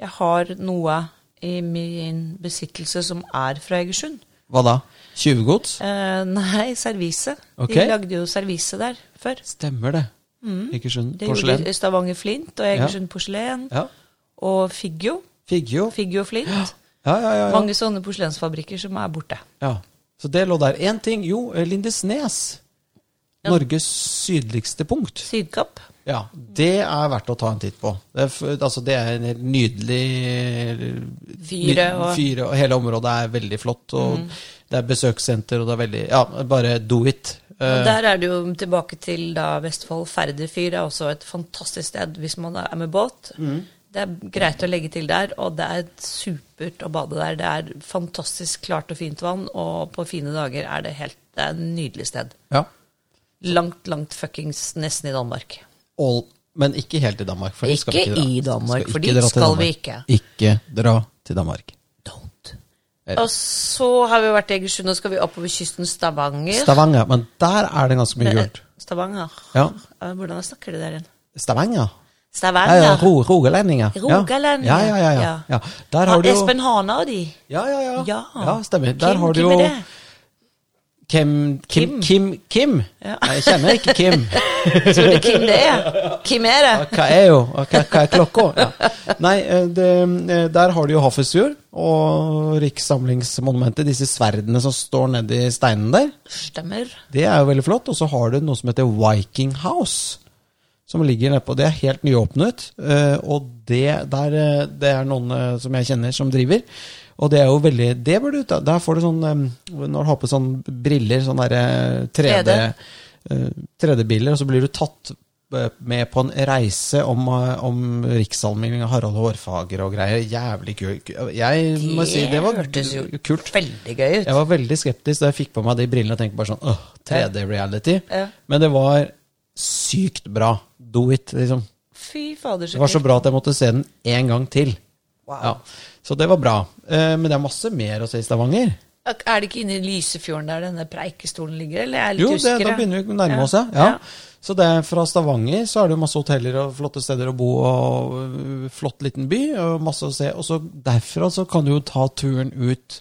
S2: jeg har noe i min besittelse som er fra Egersund.
S1: Hva da? Tjuvgods?
S2: Eh, nei, servise.
S1: Ok.
S2: De lagde jo servise der før.
S1: Stemmer det. Egersund
S2: Mm. Det
S1: porselen.
S2: gjorde Stavanger Flint og Egersund Porselen.
S1: Ja.
S2: Og Figgjo.
S1: Figgjo.
S2: Figgjo Flint.
S1: Ja, ja, ja, ja.
S2: Mange sånne porselensfabrikker som er borte.
S1: ja. Så det lå der. Én ting. Jo, eh, Lindesnes. Norges sydligste punkt.
S2: Sydkapp.
S1: Ja, det er verdt å ta en titt på. Det er, f- altså, det er en helt nydelig
S2: Fyre
S1: Ny-
S2: og Mhm.
S1: Fyre, og hele området er veldig flott. Og Det er besøkssenter, og det er veldig Ja, bare do it. Eh,
S2: Og der er det jo tilbake til da Vestfold. Færderfyr er også et fantastisk sted hvis man er med båt.
S1: Mm.
S2: Det er greit å legge til der, og det er supert å bade der. Det er fantastisk klart og fint vann, og på fine dager er det helt det er et nydelig sted.
S1: Ja.
S2: Langt, langt fuckings nesten i Danmark.
S1: All, men ikke helt i Danmark. For dit skal vi
S2: Ikke
S1: dra.
S2: i Danmark,
S1: Skal
S2: for
S1: ikke
S2: dit
S1: dra til
S2: skal
S1: Danmark.
S2: vi ikke.
S1: Ikke dra til Danmark.
S2: Don't. Og så har vi vært i Egersund, og skal vi oppover kysten Stavanger.
S1: Stavanger, men der er det ganske mye gult.
S2: Stavanger.
S1: Ja.
S2: Eh, Hvordan snakker de der igjen?
S1: Stavanger? Ja,
S2: Stavanger.
S1: ja, ro, rogalendinger. Ja.
S2: Rogalendinger.
S1: Ja, ja, ja. ja. ja. Der har
S2: Ja, Ah,
S1: du jo
S2: Espen Hana og de.
S1: Ja, ja, ja.
S2: Ja.
S1: ja stemmer. Der
S2: Kim,
S1: har du
S2: hvem
S1: jo
S2: er det?
S1: Kim Kim
S2: Kim.
S1: Kim? Kim.
S2: Ja.
S1: Nei, Jeg kjenner ikke Kim.
S2: Tror du Kim det er? Kim er det?
S1: Hva er jo? Hva, hva er klokka? Ja. Nei, eh, det, eh, der har du jo Hafrsfjord og Rikssamlingsmonumentet, disse sverdene som står nedi steinen der.
S2: Stemmer.
S1: Det er jo veldig flott. Og så har du noe som heter Viking House. Som ligger nedpå. Det er helt nyåpnet. eh, Og det, der, eh, det er noen eh, som jeg kjenner, som driver. Og det er jo veldig Det burde du ta. Der får du sånn eh, Når du har på sånn briller, sånn derre 3D, eh, 3D-briller, og så blir du tatt eh, med på en reise om, eh, om riksallmenningen av Harald Hårfager og greier. Jævlig kult. Jeg må si det var
S2: hørtes jo
S1: kult.
S2: veldig gøy ut.
S1: Jeg var veldig skeptisk da jeg fikk på meg de brillene og tenkte bare sånn Åh, 3D-reality.
S2: Ja.
S1: Men det var sykt bra. Do it, liksom.
S2: Fy fader,
S1: Det var så bra at jeg måtte se den én gang til.
S2: Wow.
S1: Ja. Så det var bra. Eh, Men det er masse mer å se i Stavanger.
S2: Er det ikke inne i Lysefjorden der denne preikestolen ligger, eller? Jeg er litt
S1: Jo, det,
S2: usikker,
S1: da
S2: jeg.
S1: begynner vi å nærme oss, ja.
S2: Ja.
S1: ja. Så det er fra Stavanger så er det jo masse hoteller og flotte steder å bo og øh, flott liten by og masse å se. Og så derfra så kan du jo ta turen ut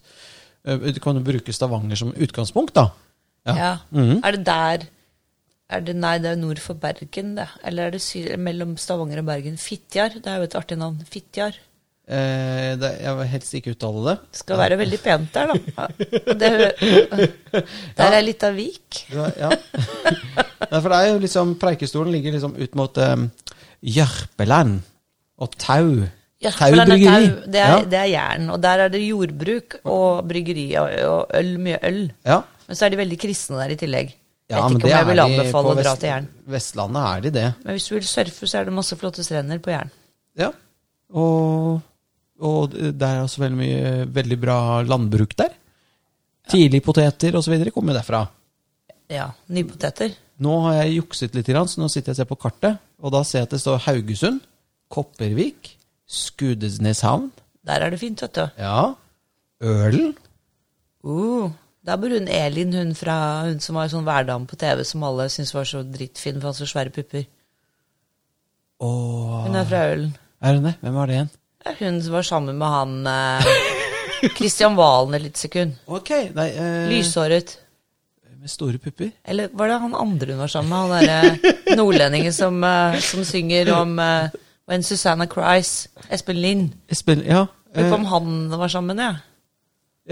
S1: øh, Du kan jo bruke Stavanger som utgangspunkt, da.
S2: Ja.
S1: Mhm.
S2: Er det der er det, Nei, det er nord for Bergen, det. Eller er det syd, mellom Stavanger og Bergen? Fitjar? Det er jo et artig navn. Fitjar.
S1: Eh, det, jeg vil helst ikke uttale det.
S2: Det skal være veldig pent der, da. Ja. Det, der er litt av vik.
S1: Det var- Ja. Nei, for det er jo liksom, Preikestolen ligger liksom ut mot um, Jørpeland og Tau.
S2: Ja,
S1: Tau
S2: for den er
S1: bryggeri.
S2: tau. Det er, det er jern, og der er det jordbruk og bryggeri og, og øl, mye øl.
S1: ja. ja.
S2: Men så er de veldig kristne der i tillegg. Jeg
S1: Ja,
S2: vet
S1: men
S2: ikke
S1: det
S2: om jeg
S1: er
S2: vil
S1: de
S2: anbefale
S1: på
S2: å dra
S1: Vest-
S2: til Jæren.
S1: Vestlandet er de det.
S2: Men hvis du vil surfe, så er det masse flotte strender på Jæren.
S1: Ja. Og, og det er også veldig mye veldig bra landbruk der. Tidlig poteter osv. kommer derfra.
S2: Ja, nypoteter.
S1: Nå har jeg jukset litt, grann, så nå sitter jeg og ser på kartet, og da ser jeg at det står Haugesund, Kopervik, Skudeneshavn,
S2: Der er det fint, vet du.
S1: ja, Ølen
S2: Uh, der bor hun Elin, hun, fra, hun som var sånn hverdame på TV som alle syntes var så drittfin, for hun hadde så svære pupper.
S1: og
S2: Hun er fra Ølen.
S1: Er hun det? Hvem var det igjen?
S2: Ja, hun som var sammen med han eh, Christian Valen et lite sekund.
S1: Ok, nei, eh,
S2: Lyshåret.
S1: Med store pupper?
S2: Eller var det han andre hun var sammen med? Han derre nordlendingen som, eh, som synger om eh, When Susanna Cries. Espen Lind.
S1: Espen, ja.
S2: Lurer
S1: eh,
S2: på om han var sammen med ja.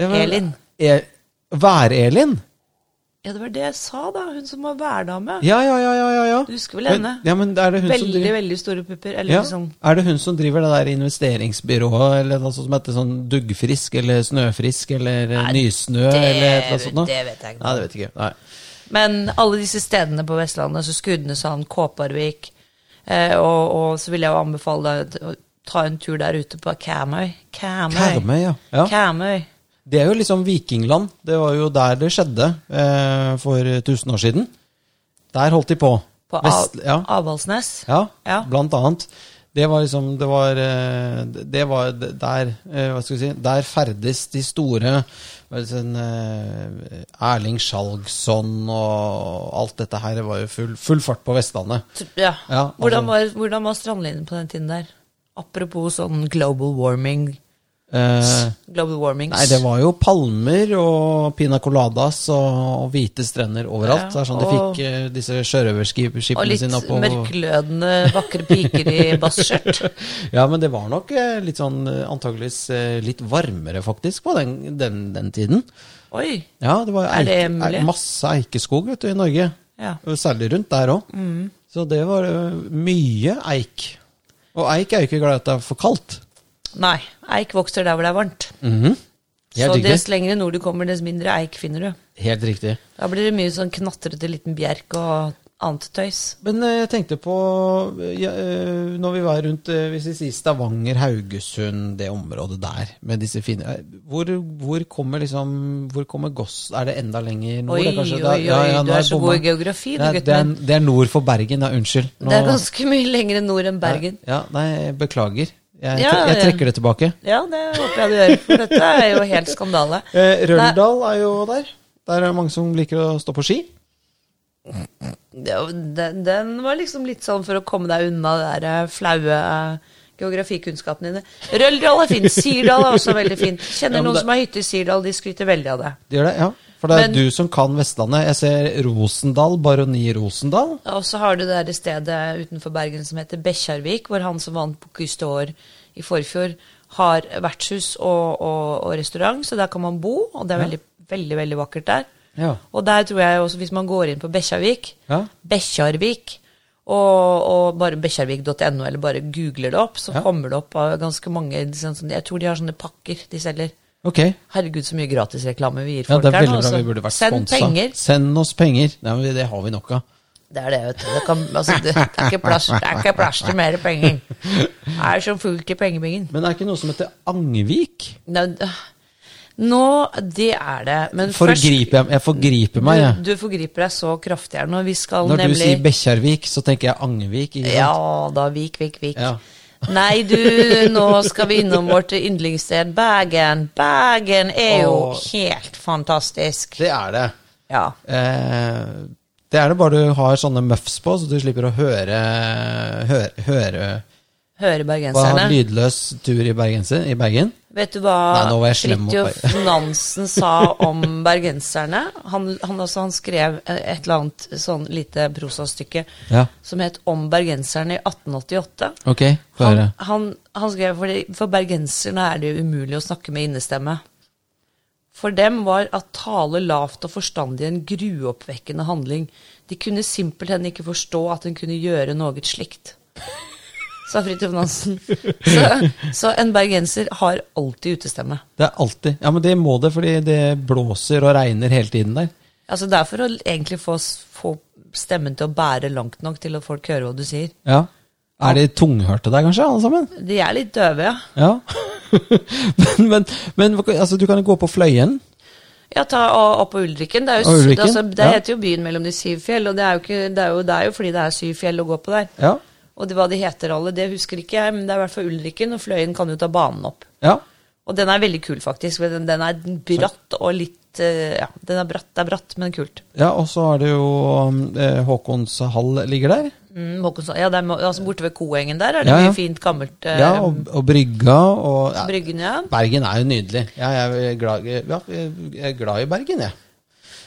S1: ja, men-
S2: Elin.
S1: E- Vær-Elin?
S2: ja, det var det jeg sa, da. Hun som var værdame.
S1: Ja, ja, ja. ja, ja, ja.
S2: Du husker vel
S1: Men-
S2: henne?
S1: Ja, men er det hun som
S2: Veldig,
S1: driver...
S2: veldig store pupper. Eller
S1: Ja.
S2: liksom
S1: Er det hun som driver det der investeringsbyrået, eller noe sånt som heter sånn Duggfrisk, eller Snøfrisk, eller eh, Nysnø, eller et eller annet sånt? noe?
S2: det vet jeg ikke.
S1: Nei, det vet jeg ikke. Nei.
S2: Men alle disse stedene på Vestlandet, så Skudeneshavn, Kåparvik eh, og, og så vil jeg jo anbefale deg å ta en tur der ute på Karmøy. Karmøy.
S1: Karmøy, ja. ja.
S2: Karmøy.
S1: Det er jo liksom vikingland. Det var jo der det skjedde eh, for 1000 år siden. Der holdt de på.
S2: På
S1: Vest-
S2: Av-
S1: ja.
S2: Avaldsnes.
S1: Ja,
S2: Ja.
S1: blant annet. Det var liksom Det var, eh, det var d- der eh, Hva skal vi si Der ferdes de store hva er det sånn, eh, Erling Skjalgsson og alt dette her. Det var jo full, full fart på Vestlandet.
S2: Ja.
S1: Ja, altså-
S2: hvordan, var, hvordan var strandlinjen på den tiden der? Apropos sånn global warming.
S1: Eh,
S2: Global warmings.
S1: nei, det var jo palmer og pina coladas og, og hvite strender overalt. Det
S2: Ja,
S1: er sånn de
S2: og-
S1: fikk eh, disse
S2: og
S1: sjørøverskipene
S2: litt
S1: sine opp og
S2: mørklødende, vakre piker i basskjørt.
S1: Ja, men det var nok eh, litt sånn eh, antageligvis eh, litt varmere, faktisk, på den, den, den tiden.
S2: Oi.
S1: Ja, det var
S2: Er det
S1: eike,
S2: mulig?
S1: er masse eikeskog vet du, i Norge.
S2: Ja. Mm.
S1: Og Særlig rundt der òg. Så det var ø, mye eik. Og eik er jo ikke glad i at det er for kaldt. Mhm.
S2: Nei, eik vokser der hvor det er varmt.
S1: Helt
S2: så dess
S1: riktig.
S2: lenger nord du kommer, dess mindre eik finner du.
S1: Helt riktig.
S2: Da blir det mye sånn knatrete liten bjerk og annet tøys.
S1: Men eh, jeg tenkte på eh, ja, eh, Når vi var rundt eh, Hvis vi sier Stavanger, Haugesund, det området der med disse fine eh, hvor, hvor kommer liksom Hvor kommer Goss Er det enda lenger nord?
S2: Oi,
S1: Det er kanskje- det
S2: oi, oi,
S1: nå har
S2: du er
S1: jeg
S2: så
S1: bomma.
S2: god i geografi, du,
S1: Det er-
S2: gutten
S1: det er-
S2: min.
S1: Det er nord for Bergen, ja. Unnskyld.
S2: Det er ganske mye lenger nord enn Bergen.
S1: Ja, nei, jeg beklager. Jeg,
S2: Ja,
S1: jeg
S2: ja.
S1: trekker det tilbake.
S2: Ja, det håper jeg du gjør, for dette er jo helt skandale.
S1: Eh,
S2: Nei,
S1: Røldal er jo der. Der er det mange som liker å stå på ski.
S2: det er jo- den, den var liksom litt sånn for å komme deg unna de der eh, flaue eh, geografikunnskapene dine. Røldal er fint. Sirdal er også veldig fint. Kjenner
S1: Ja, men
S2: noen
S1: det-
S2: som har hytte i Sirdal, de skryter veldig av det.
S1: De gjør det, ja. For det er
S2: Men-
S1: du som kan Vestlandet. Jeg ser Rosendal, Baroni Rosendal.
S2: Og så har du det der stedet utenfor Bergen som heter Bekkjarvik, hvor han som vant Bocuse d'Or i forfjor, har vertshus og, og, og restaurant, så der kan man bo, og det er veldig, veldig, veldig vakkert der.
S1: Ja.
S2: Og der tror jeg også, hvis man går inn på Bekkjarvik,
S1: Ja.
S2: Bekkjarvik, og, og bare bekkjarvik.no, eller bare googler det opp, så kommer det opp av ganske mange sånn, sånn, Jeg tror de har sånne pakker de selger.
S1: Ok.
S2: Herregud, så mye gratisreklame vi gir
S1: Ja,
S2: folk
S1: det er
S2: her
S1: veldig
S2: nå.
S1: bra.
S2: så
S1: Vi burde vært
S2: altså. Send
S1: sponsa.
S2: penger.
S1: Send oss penger. Nei, men det har vi nok av.
S2: Det er det, vet du. Det, kan, altså, det, det, er, ikke plass, det er ikke plass til mer penger. Det er som fullt i pengebingen.
S1: Men det er ikke noe som heter Angvik?
S2: Nå, nå det er det. Men
S1: Forgriper jeg, jeg forgriper meg, jeg.
S2: først du, du forgriper deg så kraftig her nå. Vi skal
S1: Når du
S2: nemlig
S1: sier Bekkjarvik, så tenker jeg Angvik. Ikke sant?
S2: Ja da, vik, vik, vik.
S1: Ja.
S2: Nei, du, nå skal vi innom vårt yndlingssted Bergen. Bergen er jo
S1: Åh.
S2: helt fantastisk.
S1: Det er det.
S2: Ja.
S1: Eh, det er det bare du har sånne muffs på, så du slipper å høre Høre, høre
S2: Hører
S1: Hva
S2: bergenserne.
S1: lydløs tur i, bergenser, i Bergen?
S2: Vet du hva
S1: Nei, nå var jeg slem mot
S2: Fridtjof Nansen sa om bergenserne? Han, han, altså, han skrev eh, et eller annet sånn lite prosastykke
S1: Ja.
S2: som het Om bergenserne i 1888.
S1: Ok, få
S2: Han,
S1: høre.
S2: han, han skrev fordi for bergenserne er det jo umulig å snakke med innestemme. For dem var at tale lavt og forstandig en gruoppvekkende handling. De kunne simpelthen ikke forstå at en kunne gjøre noe slikt. Sa Fridtjof Nansen. Så, så en bergenser har alltid utestemme.
S1: Det er alltid Ja, men det må det, fordi det blåser og regner hele tiden der.
S2: Altså Det er for å egentlig få, s- få stemmen til å bære langt nok til at folk hører hva du sier.
S1: Ja. Er de tunghørte der, kanskje, alle sammen?
S2: De er litt døve, ja.
S1: Ja. men, men, men altså, du kan jo gå på Fløyen.
S2: Ja, ta og, og på Ulriken. Det, er
S1: Og
S2: jo, s-
S1: Ulriken,
S2: altså, det
S1: ja.
S2: heter jo byen mellom de syv fjell, og det er jo, ikke, det er jo, det er jo fordi det er syv fjell å gå på der.
S1: Ja.
S2: Og det, hva de heter alle, det husker ikke jeg, men det er i hvert fall Ulriken, og Fløyen kan jo ta banen opp.
S1: ja.
S2: Og den er veldig kul, faktisk. for Den, den er bratt og litt eh, Ja, den er bratt, det er bratt, men kult.
S1: Ja, og så er det jo um, eh, Håkons hall ligger der.
S2: Mm, Håkonsen, ja, det er, må- altså Borte ved Koengen der er det
S1: Ja, ja.
S2: mye fint, gammelt. eh,
S1: Ja, og, og brygga og ja.
S2: Bryggen, ja.
S1: Bergen er jo nydelig. Ja, jeg, er eh, glad, ja, jeg er glad i Bergen, jeg.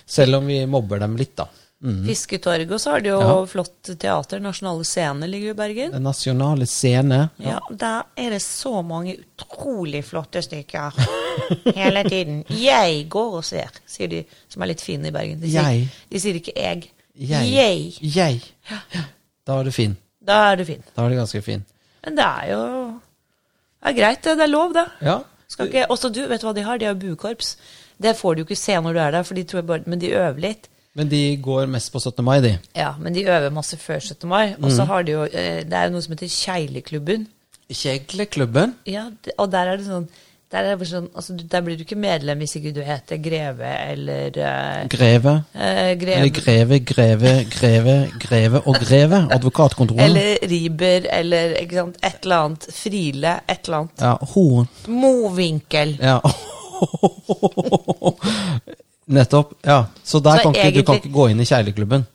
S1: Selv om vi mobber dem litt, da.
S2: Fisketorg, og så har de jo
S1: Mhm. Ja.
S2: flott teater. Nasjonale Scener ligger jo i Bergen.
S1: Den nasjonale scene.
S2: Ja, der er det så mange utrolig flotte stykker hele tiden. Jeg går og ser, sier de som er litt fine i Bergen. De sier,
S1: Jeg.
S2: De sier ikke jeg.
S1: Jeg.
S2: Jeg.
S1: Jeg. Da er du fin.
S2: Da er du fin.
S1: Da er du ganske fin.
S2: Men det er jo Det er greit, det. Det er lov, det.
S1: Ja.
S2: Skal ikke, også du, vet du hva de har? De har buekorps. Det får du ikke se når du er der, for de tror jeg bare, men de øver litt.
S1: Men de går mest på 17. mai, de.
S2: Ja, Men de øver masse før 17. mai. Og
S1: Mm.
S2: så har de jo eh, Det er jo noe som heter Kjegleklubben.
S1: Kjegleklubben.
S2: Ja, det- og der er det sånn Der, er det bare sånn, altså, du- der blir du ikke medlem hvis ikke du heter Greve eller eh,
S1: Greve.
S2: eh,
S1: Eller greve,
S2: Greve
S1: greve, greve, greve og greve. Advokatkontoret.
S2: eller Riber eller ikke sant, et eller annet. Friele, et eller annet.
S1: Ja, ho.
S2: Movinkel.
S1: Ja. Nettopp. Ja. Så der
S2: Så
S1: kan ikke, du kan
S2: egentlig-
S1: ikke gå inn i kjegleklubben.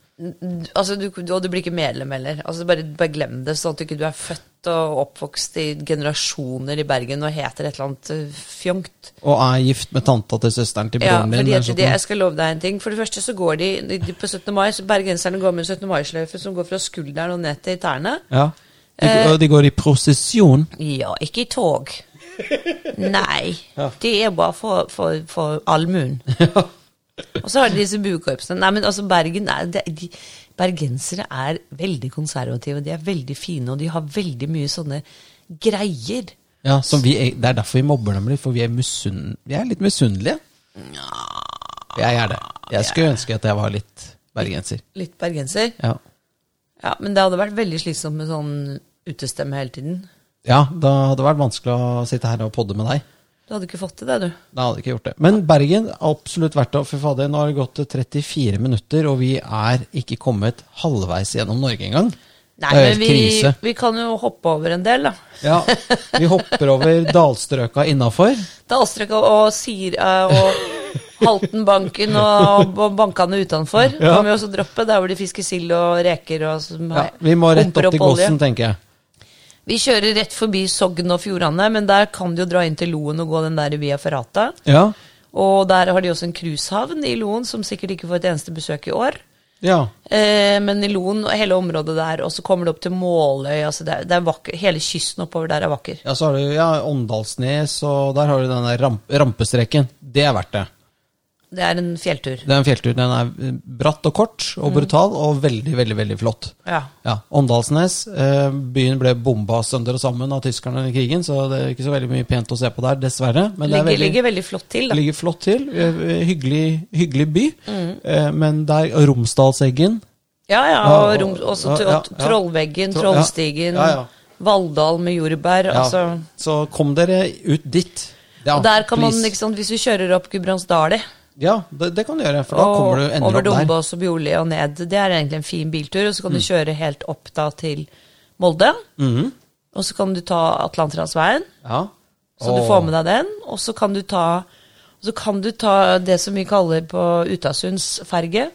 S2: Altså, du, du, og du blir ikke medlem heller. Altså, bare, bare glem det, sånn at du ikke du er født og oppvokst i generasjoner i Bergen og heter et eller annet eh, fjongt.
S1: Og er gift med tanta til søsteren til
S2: Ja,
S1: broren din.
S2: fordi
S1: eller
S2: at
S1: sånt
S2: det,
S1: noe.
S2: jeg skal love deg en ting. For det første så går de, de, de på 17. mai, så bergenserne går med en 17. mai-sløyfe som går fra skulderen og ned til tærne.
S1: Ja. De,
S2: Eh.
S1: og de går i prosesjon.
S2: Ja, ikke i tog. Nei. Det er bare for, for, for allmuen. Og så har de disse buekorpsene. Nei, men altså, Bergen er det, de, Bergensere er veldig konservative. De er veldig fine, og de har veldig mye sånne greier.
S1: Ja, så vi, er- Det er derfor vi mobber dem litt, for vi er, misunn, vi er litt misunnelige. Jeg er det. Jeg skulle ønske at jeg var litt bergenser.
S2: Litt bergenser.
S1: Ja,
S2: Ja, Men det hadde vært veldig slitsomt med sånn utestemme hele tiden.
S1: ja da hadde det vært vanskelig å sitte her og podde med deg.
S2: Du hadde ikke fått til det, du.
S1: Da hadde jeg ikke gjort det. Men Bergen er absolutt verdt det. Fy fader, nå har det gått 34 minutter, og vi er ikke kommet halvveis gjennom Norge engang.
S2: Nei,
S1: Det er helt
S2: men vi,
S1: krise.
S2: vi kan jo hoppe over en del, da.
S1: Ja, vi hopper over dalstrøka innafor.
S2: Det er Astrøk og, og Sir eh, og Haltenbanken og, og bankene utenfor.
S1: Ja.
S2: Kan vi også droppe der hvor de fisker sild og reker og som
S1: Ja,
S2: har-
S1: vi må rett
S2: pumper
S1: opp til
S2: olje.
S1: Gossen, tenker jeg.
S2: Vi kjører rett forbi Sogn og Fjordane, men der kan du jo dra inn til Loen og gå den der via Ferrata.
S1: Ja,
S2: Og der har de også en cruisehavn i Loen, som sikkert ikke får et eneste besøk i år.
S1: ja.
S2: Eh, men i Loen og hele området der, og så kommer du opp til Måløy. Altså det er, det er vakker, hele kysten oppover der er vakker.
S1: Ja, så har du ja, Åndalsnes, og der har du den der ramp rampestreken. Det er verdt det.
S2: Det er en fjelltur.
S1: Det er en fjelltur. Den er eh, bratt og kort
S2: Mm.
S1: og brutal, og veldig, veldig veldig flott.
S2: Ja.
S1: Ja, Åndalsnes. eh, Byen ble bomba sønder og sammen av tyskerne under krigen, så det er ikke så veldig mye pent å se på der, dessverre. Men det
S2: ligger,
S1: er veldig,
S2: ligger veldig flott til, da.
S1: ligger flott til. eh, Hyggelig, hyggelig by.
S2: Mm.
S1: Eh, Men der Romsdalseggen
S2: Ja, ja,
S1: Ja,
S2: og
S1: og-
S2: rom, også
S1: ja,
S2: tro-
S1: ja, ja.
S2: Trollveggen,
S1: Tro- ja.
S2: Trollstigen,
S1: Ja, ja.
S2: Valldal med jordbær.
S1: ja.
S2: Altså.
S1: Så kom dere ut dit. Ja,
S2: og der kan man, liksom-
S1: please.
S2: ikke sant, Hvis du kjører opp Gudbrandsdali
S1: Ja, det, det kan du gjøre, for da
S2: og
S1: kommer du ender
S2: over
S1: opp der. Mm.
S2: Dombås og Bjorli og ned, det er egentlig en fin biltur. Og så kan du kjøre helt opp da til Molde.
S1: Mm-hmm.
S2: Og så kan du ta Atlanterhavsveien,
S1: Ja.
S2: så du
S1: Og-
S2: får med deg den. Og så kan du ta så kan du ta det som vi kaller på Utasunds ferge.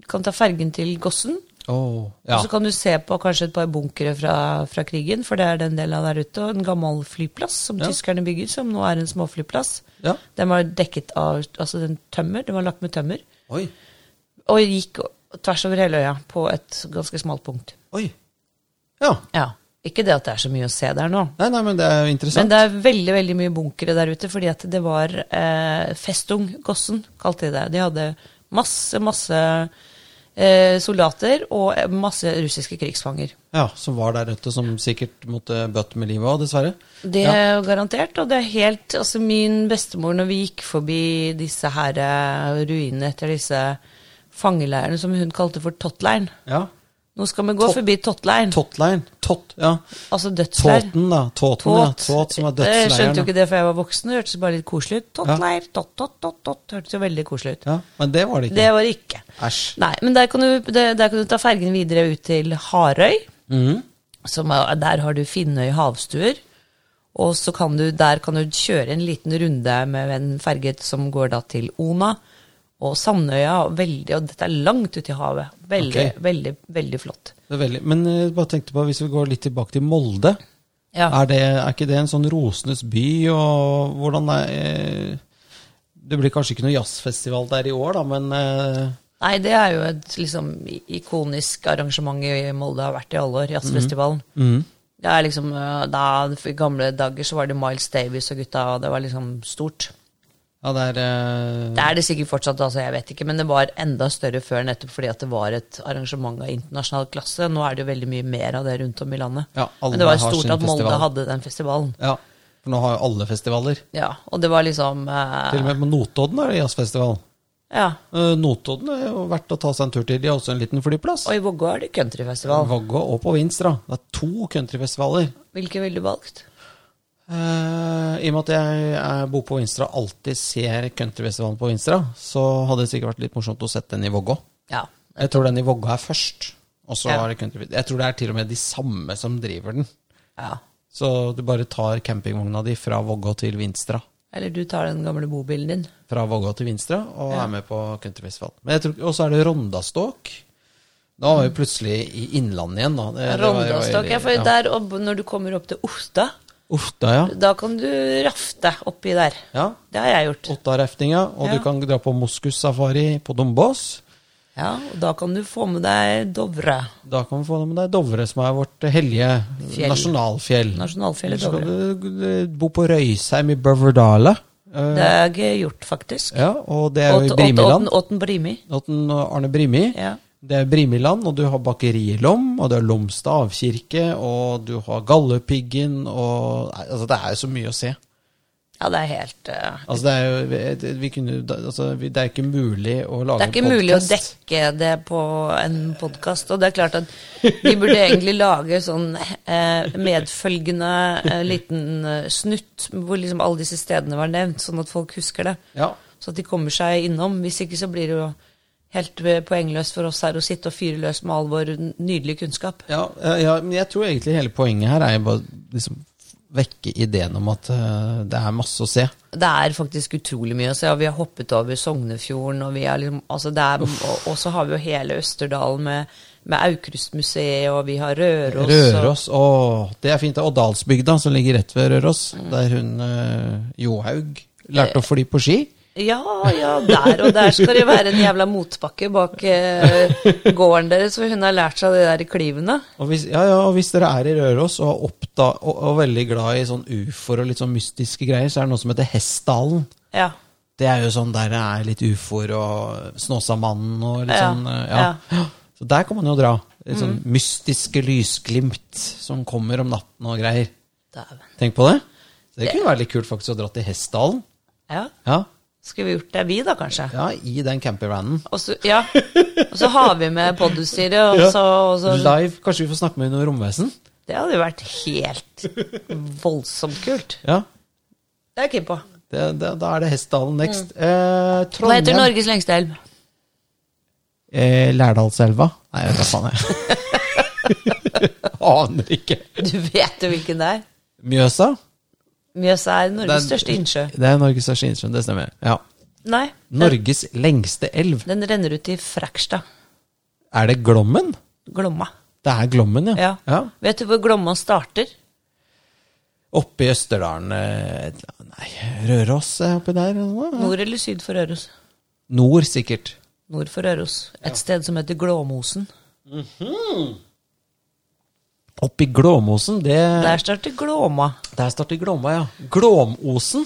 S2: Du kan ta fergen til Gossen.
S1: Åh, ja.
S2: Og så kan du se på kanskje et par bunkere fra, fra krigen, for det er den delen der ute. Og en gammel flyplass som
S1: Ja.
S2: tyskerne bygger, som nå er en småflyplass.
S1: Ja.
S2: Den var dekket av altså den tømmer, den var lagt med tømmer,
S1: Oi.
S2: og gikk tvers over hele øya på et ganske smalt punkt.
S1: Oi. Ja.
S2: Ja, Ikke det at det er så mye å se der nå,
S1: Nei, nei, men det er jo
S2: men
S1: interessant.
S2: det er veldig veldig mye bunkere der ute, fordi at det var eh, Festung Gossen, kalte de det. De hadde masse, masse eh, soldater og eh, masse russiske krigsfanger.
S1: Ja, Som var der ute, som sikkert måtte bøtte med livet òg, dessverre.
S2: Det
S1: ja.
S2: er jo garantert, og det er helt Altså, min bestemor, når vi gikk forbi disse her eh, ruinene etter disse fangeleirene, som hun kalte for Tottleiren
S1: ja.
S2: Nå skal vi gå
S1: Tott-
S2: forbi Tottleiren.
S1: Tottleiren. Tott, ja.
S2: altså dødsleir.
S1: Tåten, da. Tåten, ja.
S2: Tott.
S1: Tåt som er
S2: Jeg skjønte jo
S1: dødsleiren. da.
S2: ikke det før jeg var voksen, det hørtes bare litt koselig ut. Tottleir, tott, tott, tott, tott. Hørtes jo veldig koselig ut.
S1: Ja, men det var det ikke.
S2: Det var det ikke.
S1: Æsj.
S2: Nei, men der kan, du, der, der kan du ta fergen videre ut til Harøy.
S1: Mm.
S2: Som er, der har du Finnøy havstuer. Og så kan du, der kan du kjøre en liten runde med en ferge som går da til Ona og Sandøya. Og, veldig, og dette er langt ute i havet. Veldig,
S1: Ok.
S2: veldig, veldig flott.
S1: Det er veldig, men jeg bare tenkte på, hvis vi går litt tilbake til Molde,
S2: Ja.
S1: er, det, er ikke det en sånn rosenes by, og hvordan er eh, Det blir kanskje ikke noe jazzfestival der i år, da, men eh,
S2: Nei, det er jo et liksom ikonisk arrangement i Molde har vært i alle år, jazzfestivalen.
S1: Mhm.
S2: Det er liksom, eh, da, I gamle dager så var det Miles Davis og gutta, og det var liksom stort.
S1: ja, det er eh,
S2: Det er det sikkert fortsatt, altså, jeg vet ikke, men det var enda større før nettopp fordi at det var et arrangement av internasjonal klasse. Nå er det jo veldig mye mer av det rundt om i landet.
S1: Ja, alle
S2: men det var
S1: har sin
S2: stort at Molde
S1: festival.
S2: hadde den festivalen.
S1: Ja, for nå har jo alle festivaler.
S2: Ja, og det var liksom eh,
S1: Til og med på Notodden er det jazzfestival.
S2: Ja,
S1: Eh, Notodden er jo verdt å ta seg en tur til. De har også en liten flyplass.
S2: og i Vågå er det countryfestival.
S1: Vågå og på Vinstra. Det er to countryfestivaler.
S2: Hvilken ville du valgt?
S1: Eh, I og med at jeg, eh, bor på Vinstra og alltid ser countryfestivalen på Vinstra, så hadde det sikkert vært litt morsomt å sette den i Vågå.
S2: Ja,
S1: Jeg tror den i Vågå er først. Og så
S2: Ja.
S1: er det country. Jeg tror det er til og med de samme som driver den.
S2: ja.
S1: Så du bare tar campingvogna di fra Vågå til Vinstra.
S2: Eller du tar den gamle bobilen din.
S1: fra Vågå til Vinstra og er med på countryfestival. Men jeg tror, og så er det Rondastok. Da var vi plutselig i Innlandet igjen, da. Det- det var jo-
S2: Rondastok. Ja, for
S1: ja.
S2: der opp, når du kommer opp til Osta,
S1: Otta, ja.
S2: da kan du rafte oppi der.
S1: ja.
S2: Det har jeg gjort.
S1: Otta-raftinga. Og
S2: Ja.
S1: du kan dra på moskussafari på Dombås.
S2: Ja, og da kan du få med deg Dovre.
S1: Da kan vi få med deg Dovre, som er vårt hellige
S2: Fjell.
S1: nasjonalfjell.
S2: Nasjonalfjellet
S1: Så
S2: Dovre.
S1: kan du bo på Røysheim i Bøverdala. Eh,
S2: Det har jeg gjort, faktisk.
S1: Ja, og det er jo i
S2: Åtten- åtten-
S1: Brimiland.
S2: åtten- Åtten Brimi.
S1: Åtten og Arne Brimi.
S2: Ja.
S1: Det er Brimiland, og du har bakeriet Lom, og du har Lomstad avkirke, og du har Galdhøpiggen, og nei, altså, Det er jo så mye å se.
S2: Ja, det er helt eh,
S1: Altså, det er jo vi- vi kunne, jo- altså, vi- Det er ikke mulig å lage
S2: Det er ikke mulig å dekke det på en podkast. Og det er klart at vi burde egentlig lage sånn eh, medfølgende eh, liten eh, snutt hvor liksom alle disse stedene var nevnt, sånn at folk husker det.
S1: Ja.
S2: Så at de kommer seg innom. Hvis ikke så blir det jo helt eh, poengløst for oss her å sitte og fyre løs med all vår nydelige kunnskap.
S1: Ja, ja, ja, men jeg tror egentlig hele poenget her er jo bare liksom vekke ideen om at eh, det er masse å se.
S2: Det er faktisk utrolig mye å se. og Vi har hoppet over Sognefjorden, og vi har liksom altså det er, og, og så har vi jo hele Østerdalen med, med Aukrustmuseet, og vi har Røros. og-
S1: Røros, å, det er fint. Og Dalsbygda, som ligger rett ved Røros, der hun eh, Johaug lærte å fly på ski.
S2: Ja, ja, der og der skal det være en jævla motbakke bak eh, gården deres, for hun har lært seg det der i klivene.
S1: Og hvis, ja, ja, og hvis dere er i Røros og, er oppda, og, og veldig glad i sånn ufoer og litt sånn mystiske greier, så er det noe som heter Hessdalen.
S2: Ja.
S1: Det er jo sånn der det er litt ufoer og Snåsamannen og litt
S2: Ja, Mm.
S1: sånn eh, ja. Så der kan man jo dra. Litt sånn mystiske lysglimt som kommer om natten og greier.
S2: Dæven.
S1: Tenk på det. Så det kunne være litt kult faktisk å dra til Hessdalen.
S2: Ja,
S1: Ja,
S2: skulle vi gjort det, vi da, kanskje?
S1: ja i den campervanen.
S2: Og så, ja. og så har vi med podutstyret, og så, og så
S1: Live. Kanskje vi får snakke med noe romvesen?
S2: Det hadde jo vært helt voldsomt kult.
S1: Ja.
S2: Det er jeg keen på.
S1: Det, det, da er det Hessdalen next. Eh, Trondheim.
S2: Mm. Hva heter Norges lengste elv?
S1: Eh, Lærdalselva. Nei, jeg vet hva faen jeg Aner ikke.
S2: Du vet jo hvilken det er.
S1: Mjøsa?
S2: Mjøsa er Norges
S1: Det er-
S2: største innsjø.
S1: Det er Norges største innsjø, det stemmer. Ja.
S2: Nei, den,
S1: Norges lengste elv.
S2: den renner ut i Frekstad.
S1: Er det Glommen?
S2: Glomma.
S1: Det er Glommen, ja.
S2: Ja.
S1: ja.
S2: Vet du hvor Glomma starter?
S1: Oppe i Østerdalen eh, Nei, Røros er oppi der? eller noe?
S2: Nord eller syd for Røros?
S1: Nord, sikkert.
S2: Nord for Røros. Et sted som heter Glåmosen.
S1: Oppi Glåmosen, det
S2: Der starter Glåma.
S1: Der starter Glåma, ja. Glåmosen.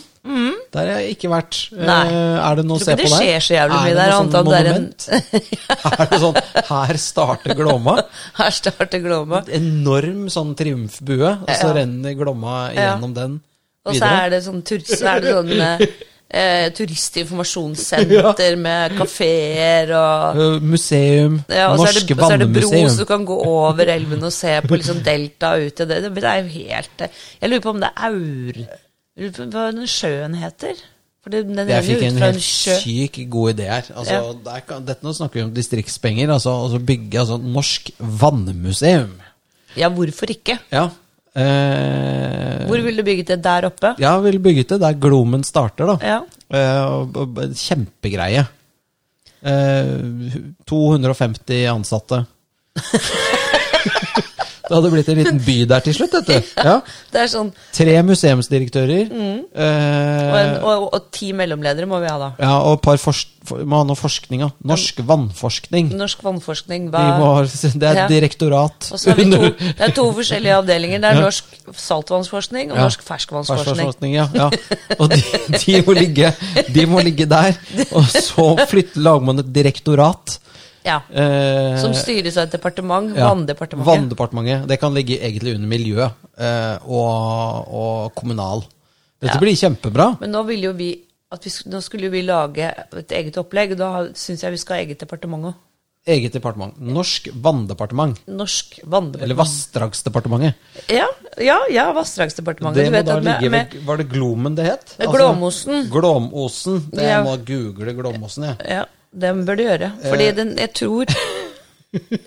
S1: Der har jeg ikke vært.
S2: Mhm. Nei.
S1: Eh, Er det noe å
S2: Tror
S1: se på
S2: ikke
S1: der?
S2: det skjer så jævlig
S1: er
S2: mye
S1: det
S2: der,
S1: noe
S2: annet enn
S1: sånn
S2: det er en-
S1: monument? er det sånn Her starter Glåma.
S2: Her starter Glåma.
S1: Enorm sånn triumfbue, og så
S2: Ja.
S1: renner Glåma
S2: Ja.
S1: gjennom den
S2: Og så
S1: videre.
S2: er det sånn, tur så er det sånn eh, eh, turistinformasjonssenter med kafeer og
S1: Eh, Museum.
S2: ja, og så er,
S1: Norske
S2: det, så er det bro,
S1: Vannemuseum.
S2: så du kan gå over elven og se på liksom delta ut til det. Det er jo helt eh, Jeg lurer på om det er Aur Jeg lurer på Hva den sjøen heter? For det, den
S1: Jeg
S2: renner
S1: fikk
S2: jo
S1: en
S2: ut fra
S1: helt
S2: en sjø.
S1: syk god idé her. Altså,
S2: Ja.
S1: der kan, dette nå snakker vi om distriktspenger. Altså, altså bygge altså, norsk vannmuseum.
S2: Ja, hvorfor ikke?
S1: Ja. Eh,
S2: Hvor ville du bygget det? Der oppe?
S1: ja, vil bygget det der Glomen starter, da.
S2: Ja.
S1: Eh, og- og- og kjempegreie. Eh, 250 ansatte. det hadde blitt en liten by der til slutt, vet du. Ja.
S2: Det er sånn,
S1: Tre museumsdirektører. eh,
S2: Mm. og, en, og, og ti mellomledere må vi ha da.
S1: Ja, og et par forsk for, må ha noe forskning, da. Norsk vannforskning.
S2: Norsk vannforskning,
S1: Vi
S2: hva
S1: må, ha- det er
S2: Eh, Ja.
S1: et direktorat.
S2: og så har vi to,
S1: under-
S2: Det er to forskjellige avdelinger. Det er norsk saltvannsforskning og
S1: Ja.
S2: norsk ferskvannsforskning.
S1: Ferskvannsforskning, Ja, ja. Og de, de, må ligge, de må ligge der. Og så flytter lagmannen et direktorat.
S2: Ja.
S1: eh,
S2: Som styres av et departement.
S1: ja,
S2: Vanndepartementet.
S1: Vanndepartementet. Det kan ligge egentlig under miljø eh, og, og kommunal. Dette blir kjempebra.
S2: Men nå ville jo vi at vi, sk- nå skulle jo vi lage et eget opplegg. og Da syns jeg vi skal ha eget departement òg.
S1: Eget departement. Norsk vanndepartement.
S2: Norsk
S1: Eller
S2: vanndepartement.
S1: Vassdragsdepartementet.
S2: Ja, ja, ja Vassdragsdepartementet.
S1: Det
S2: Du
S1: må
S2: vet
S1: da
S2: at med-
S1: ligge
S2: med-
S1: ved Var det Glomen det het? Altså,
S2: Eh, Glåmosen.
S1: Glåmosen. Det
S2: Ja.
S1: Jeg må google Glåmosen, jeg.
S2: Ja, det bør du gjøre.
S1: Eh.
S2: Fordi den, jeg tror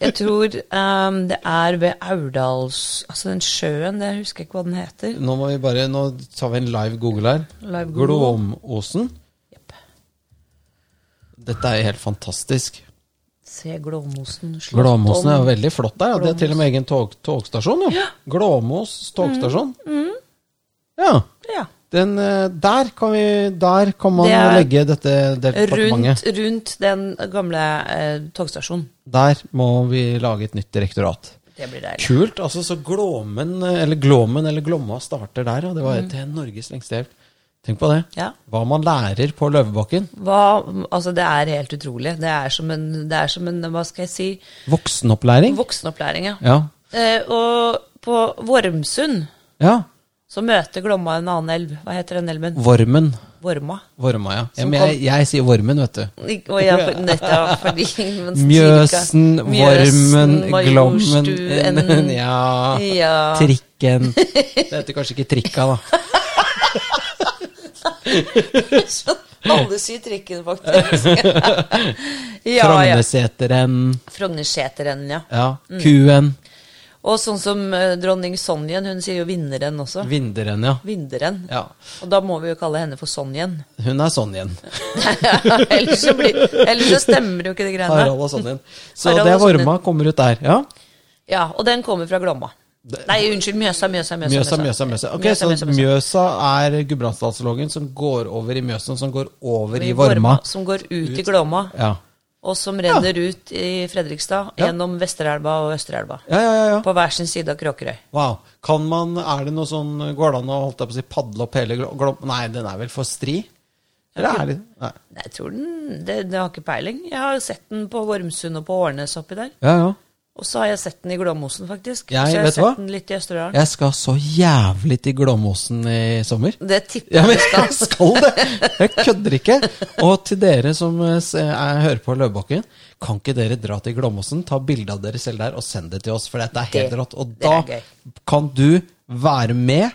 S2: Jeg tror ehm, det er ved Aurdals Altså den sjøen, det husker jeg ikke hva den heter.
S1: Nå, må vi bare, nå tar vi en live google her.
S2: Live Google.
S1: Glåmosen.
S2: Jepp.
S1: Dette er jo helt fantastisk.
S2: Se Glåmosen. slått
S1: Glåmosen er
S2: om.
S1: jo veldig flott der. Ja. Det er til og med egen tog, togstasjon. Jo. Glåmos togstasjon.
S2: Mm,
S1: Ja.
S2: Ja.
S1: Den, eh, der, kan vi, der kan man
S2: Det er
S1: legge dette
S2: Rundt,
S1: departementet.
S2: rundt den gamle eh, togstasjonen.
S1: Der må vi lage et nytt direktorat.
S2: Det blir deilig.
S1: Kult. altså Så Glåmen, eh, eller Glåmen eller Glomma starter der, ja. Det var til Norges lengste elv. Tenk på det.
S2: Mm. Ja.
S1: Hva man lærer på Løvebakken.
S2: Hva, altså det er helt utrolig. Det er som en, det er som en hva skal jeg si,
S1: Voksenopplæring.
S2: voksenopplæring. Ja.
S1: Ja.
S2: Eh, og på Vormsund
S1: ja.
S2: så møter Glomma en annen elv. Hva heter den elven?
S1: Vormen.
S2: Vorma.
S1: Vorma, ja. ja
S2: Som
S1: men jeg, jeg sier Vormen, vet du.
S2: Ik- Og ja, for- nettopp fordi men cirka-
S1: Mjøsen, Vormen, Glommen
S2: Majorstuen.
S1: Ja.
S2: Ja.
S1: Trikken. Det heter kanskje ikke Trikka, da.
S2: Alle sier trikken, faktisk. ja, ja.
S1: Frogneseteren.
S2: Frognerseteren, ja.
S1: Ja. Kuen.
S2: Og sånn som eh, dronning Sonjen, hun sier jo vinneren også.
S1: Vinderen, ja.
S2: Vinneren.
S1: ja.
S2: Og da må vi jo kalle henne for Sonjen.
S1: Hun er sånn igjen.
S2: ellers, så blir, ellers så stemmer jo ikke de greiene.
S1: Harald og sånn igjen. Så
S2: Harald
S1: det er
S2: og sånn igjen.
S1: Vorma kommer ut der. Ja.
S2: Ja, og den kommer fra Glomma. Nei, unnskyld, Mjøsa, Mjøsa, Mjøsa.
S1: Mjøsa, Mjøsa, Mjøsa. Ok,
S2: Mjøsa, Mjøsa,
S1: Så
S2: Mjøsa.
S1: Mjøsa er gudbrandsdalslågen som går over i Mjøsen, som går over i Vorma.
S2: Som går ut i Glomma,
S1: Ja,
S2: og som renner ut i Fredrikstad,
S1: Ja.
S2: gjennom Vesterelva og Østerelva.
S1: ja, ja. ja, ja.
S2: På hver sin side av Kråkerøy.
S1: Wow. Kan man, er det noe sånn Går det an å holdt jeg på å si, padle opp hele glo- glom... Nei, den er vel for stri? Eller er det Nei.
S2: Nei, Jeg tror den det, det har ikke peiling. Jeg har sett den på Vormsund og på Årnes oppi der.
S1: Ja, ja.
S2: Og så har jeg sett den i Glåmosen, faktisk.
S1: Jeg-
S2: så jeg har
S1: vet du
S2: sett
S1: hva?
S2: den litt i Østerdalen.
S1: Jeg skal så jævlig til Glåmåsen i sommer.
S2: Det tipper
S1: Ja, men
S2: jeg
S1: jeg
S2: skal.
S1: skal det! Jeg kødder ikke. Og til dere som eh, s- er, hører på Løvebakken, kan ikke dere dra til Glåmåsen, ta bilde av dere selv der og send det til oss, for dette er helt
S2: Det-
S1: rått. Og
S2: det er
S1: da kan du være med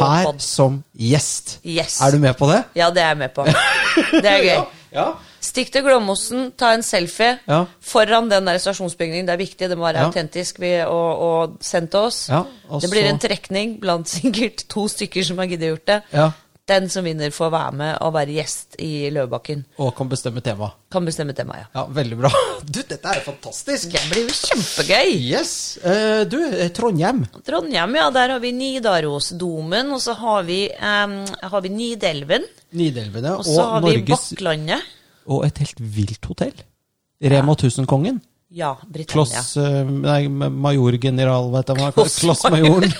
S1: her
S2: pod.
S1: som gjest.
S2: Yes.
S1: Er du med på det?
S2: Ja, det er jeg med på. Det er gøy.
S1: Ja.
S2: Stikk til Glåmosen, ta en selfie
S1: Ja.
S2: foran den der stasjonsbygningen. Det er viktig, det må være
S1: Ja.
S2: autentisk vi- og, og sendt til oss.
S1: Ja, og
S2: det blir
S1: så-
S2: en trekning blant sikkert to stykker som har giddet gjort det.
S1: Ja.
S2: Den som vinner, får være med og være gjest i Løvebakken.
S1: Og kan bestemme tema.
S2: Kan bestemme til meg, ja.
S1: Ja, veldig bra. Du, dette er jo fantastisk!
S2: Det blir jo kjempegøy!
S1: Yes. Eh, du, eh, Trondheim.
S2: Trondheim, ja, der har vi Nidarosdomen, og så har vi, em, har vi Nidelven.
S1: Nidelvene
S2: Og
S1: og,
S2: så har vi
S1: Norges
S2: Bakklandet.
S1: Og et helt vilt hotell. Rema 1000-kongen.
S2: Ja, Britannia.
S1: Kloss eh, Nei, majorgeneral, vet jeg hva.
S2: Kloss-
S1: Klossmajoren.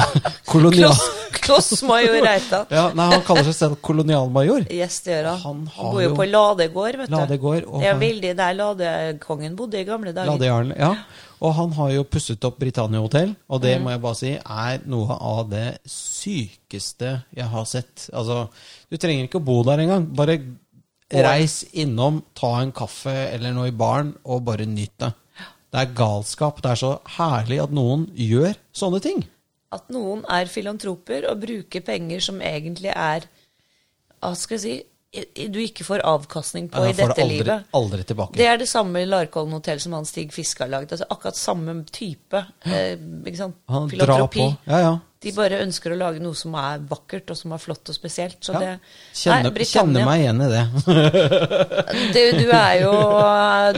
S1: Kolonial...
S2: Kloss, Klossmajor Reitan.
S1: Ja, nei, han kaller seg selv kolonialmajor.
S2: Yes, det gjør han.
S1: Han
S2: Han,
S1: har
S2: bor jo
S1: jo-
S2: på Ladegård, vet du.
S1: Ladegård, og
S2: det er
S1: han-
S2: veldig der ladekongen bodde i gamle dager.
S1: Ladejarlen. Ja. Og han har jo pusset opp Britannia Hotel, og det må jeg bare si er noe av det sykeste jeg har sett. Altså, du trenger ikke å bo der engang. Bare reis innom, ta en kaffe eller noe i baren, og bare nyt det. Det er galskap. Det er så herlig at noen gjør sånne ting.
S2: At noen er filantroper og bruker penger som egentlig er Hva skal jeg si i- i- Du ikke får avkastning på
S1: Jeg
S2: i
S1: får
S2: dette
S1: det aldri,
S2: livet.
S1: aldri tilbake.
S2: Det er det samme i Larkollen hotell som han Stig Fiske har laget. Altså akkurat samme type. Eh, ikke sant?
S1: Han drar på. Ja, ja.
S2: De bare ønsker å lage noe som er vakkert og som er flott og spesielt. Så
S1: Ja.
S2: det,
S1: Kjenner,
S2: Britannia-
S1: kjenner meg igjen i det.
S2: Du, du er jo